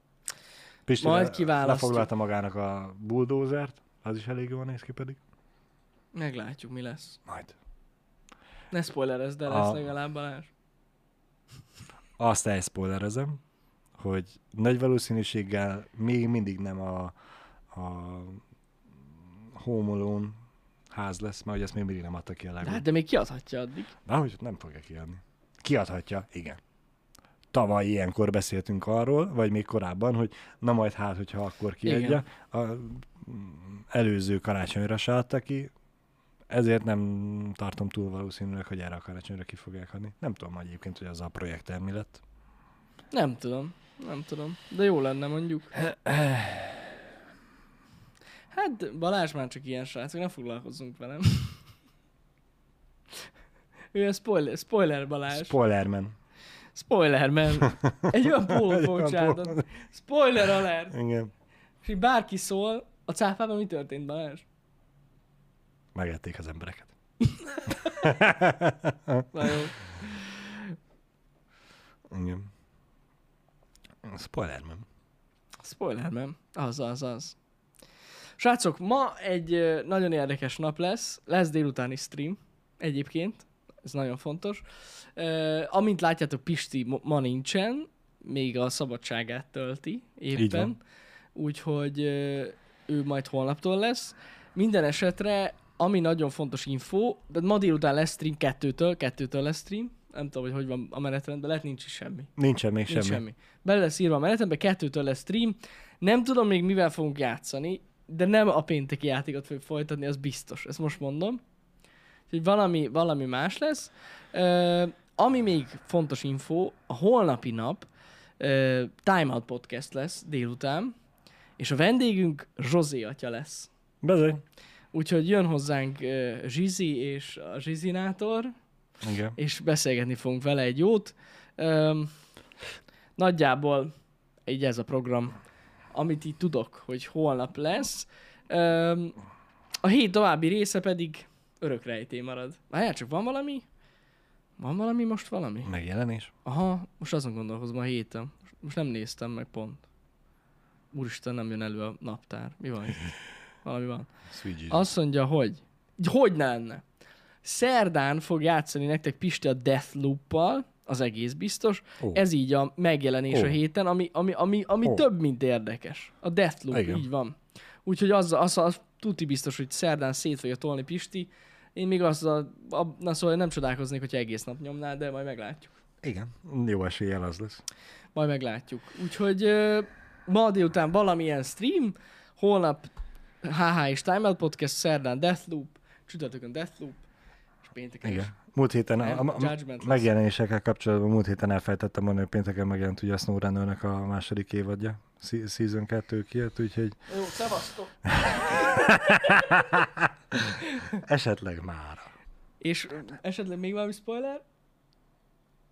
[SPEAKER 2] Pisti
[SPEAKER 1] Majd
[SPEAKER 2] le-
[SPEAKER 1] kiválasztjuk.
[SPEAKER 2] Lefoglalta magának a bulldozert, az is elég jól néz ki pedig.
[SPEAKER 1] Meglátjuk, mi lesz.
[SPEAKER 2] Majd.
[SPEAKER 1] Ne spoilerezd, de
[SPEAKER 2] A-
[SPEAKER 1] lesz legalább Balázs.
[SPEAKER 2] Azt elspoilerezem, hogy nagy valószínűséggel még mindig nem a, a Home Alone ház lesz, mert hogy ezt még mindig nem adta ki a
[SPEAKER 1] De
[SPEAKER 2] Lego.
[SPEAKER 1] hát, de még kiadhatja addig.
[SPEAKER 2] De hogy nem fogja kiadni. Kiadhatja, igen. Tavaly ilyenkor beszéltünk arról, vagy még korábban, hogy na majd hát, hogyha akkor kiadja.
[SPEAKER 1] Igen.
[SPEAKER 2] A, mm, előző karácsonyra se adta ki, ezért nem tartom túl valószínűleg, hogy erre a karácsonyra ki fogják adni. Nem tudom hogy egyébként, hogy az a projekt mi lett.
[SPEAKER 1] Nem tudom. Nem tudom. De jó lenne mondjuk. Hát Balázs már csak ilyen srác, ne foglalkozzunk velem. Ő a spoiler, spoiler Balázs.
[SPEAKER 2] Spoilerman.
[SPEAKER 1] Spoiler, mert egy olyan pólót
[SPEAKER 2] Egy
[SPEAKER 1] fogok
[SPEAKER 2] olyan
[SPEAKER 1] csinálni.
[SPEAKER 2] pólót.
[SPEAKER 1] Spoiler alert!
[SPEAKER 2] Igen.
[SPEAKER 1] És így bárki szól, a cáfában mi történt, Balázs?
[SPEAKER 2] Megették az embereket.
[SPEAKER 1] Na jó.
[SPEAKER 2] Igen. Spoilerman.
[SPEAKER 1] Spoiler, nem? Az, az, az. Srácok, ma egy ö, nagyon érdekes nap lesz. Lesz délutáni stream egyébként. Ez nagyon fontos. Ö, Amint látjátok, Pisti mo- ma nincsen. Még a szabadságát tölti
[SPEAKER 2] Így
[SPEAKER 1] éppen.
[SPEAKER 2] van.
[SPEAKER 1] Úgyhogy ö, ő majd holnaptól lesz. Minden esetre, ami nagyon fontos info, de ma délután lesz stream kettőtől, kettőtől lesz stream. Nem tudom, hogy hogy van a menetrendben, lehet nincs is semmi.
[SPEAKER 2] Nincsen még
[SPEAKER 1] Nincs
[SPEAKER 2] semmi.
[SPEAKER 1] semmi. Bele lesz írva a menetembe, kettőtől lesz stream. Nem tudom még mivel fogunk játszani, de nem a pénteki játékot fogjuk folytatni, az biztos. Ezt most mondom. Úgyhogy valami, valami más lesz. Ö, ami még fontos info, a holnapi nap ö, Time Out Podcast lesz délután, és a vendégünk Zsozé atya lesz.
[SPEAKER 2] Bezony.
[SPEAKER 1] Úgyhogy jön hozzánk ö, Zsizi és a Zsizinátor,
[SPEAKER 2] Igen.
[SPEAKER 1] és beszélgetni fogunk vele egy jót. Öm, nagyjából így ez a program, amit így tudok, hogy holnap lesz. Öm, a hét további része pedig örökrejté marad. Várjál csak, van valami? Van valami most valami?
[SPEAKER 2] Megjelenés.
[SPEAKER 1] Aha, most azon gondolkozom a héten. Most nem néztem meg pont. Úristen, nem jön elő a naptár. Mi van itt? Valami van.
[SPEAKER 2] Sweet
[SPEAKER 1] Azt mondja, hogy. Hogy ne lenne? Szerdán fog játszani nektek Pisti a Deathloop-pal, az egész biztos.
[SPEAKER 2] Ó.
[SPEAKER 1] Ez így a megjelenés
[SPEAKER 2] Ó.
[SPEAKER 1] a héten, ami, ami, ami, ami
[SPEAKER 2] Ó.
[SPEAKER 1] több, mint érdekes. A Deathloop,
[SPEAKER 2] Igen.
[SPEAKER 1] így van. Úgyhogy az, az, az tuti biztos, hogy szerdán szét fogja tolni Pisti. Én még azzal, a, na szóval nem csodálkoznék, hogyha egész nap nyomnál, de majd meglátjuk.
[SPEAKER 2] Igen. Jó eséllyel az lesz.
[SPEAKER 1] Majd meglátjuk. Úgyhogy ö, ma délután valamilyen stream, holnap HH és Time Out Podcast, szerdán Deathloop, csütörtökön Deathloop, és pénteken is.
[SPEAKER 2] Igen. Múlt héten a,
[SPEAKER 1] Nem,
[SPEAKER 2] a, a
[SPEAKER 1] Judgment lesz.
[SPEAKER 2] megjelenésekkel kapcsolatban múlt héten elfelejtettem mondani, hogy pénteken megjelent ugye a Snowrunner-nek a második évadja. Se- Season 2 kijött, úgyhogy
[SPEAKER 1] Jó, szevasztok!
[SPEAKER 2] esetleg már.
[SPEAKER 1] És ö, esetleg még valami spoiler?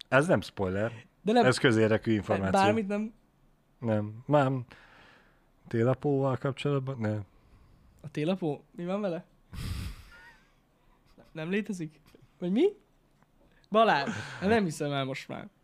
[SPEAKER 2] Ez nem spoiler,
[SPEAKER 1] De nem,
[SPEAKER 2] ez közérdekű információ.
[SPEAKER 1] bármit nem.
[SPEAKER 2] Nem, már télapóval kapcsolatban? Nem.
[SPEAKER 1] A télapó? Mi van vele? Nem létezik? Vagy mi? Balázs, Hát nem hiszem el most már.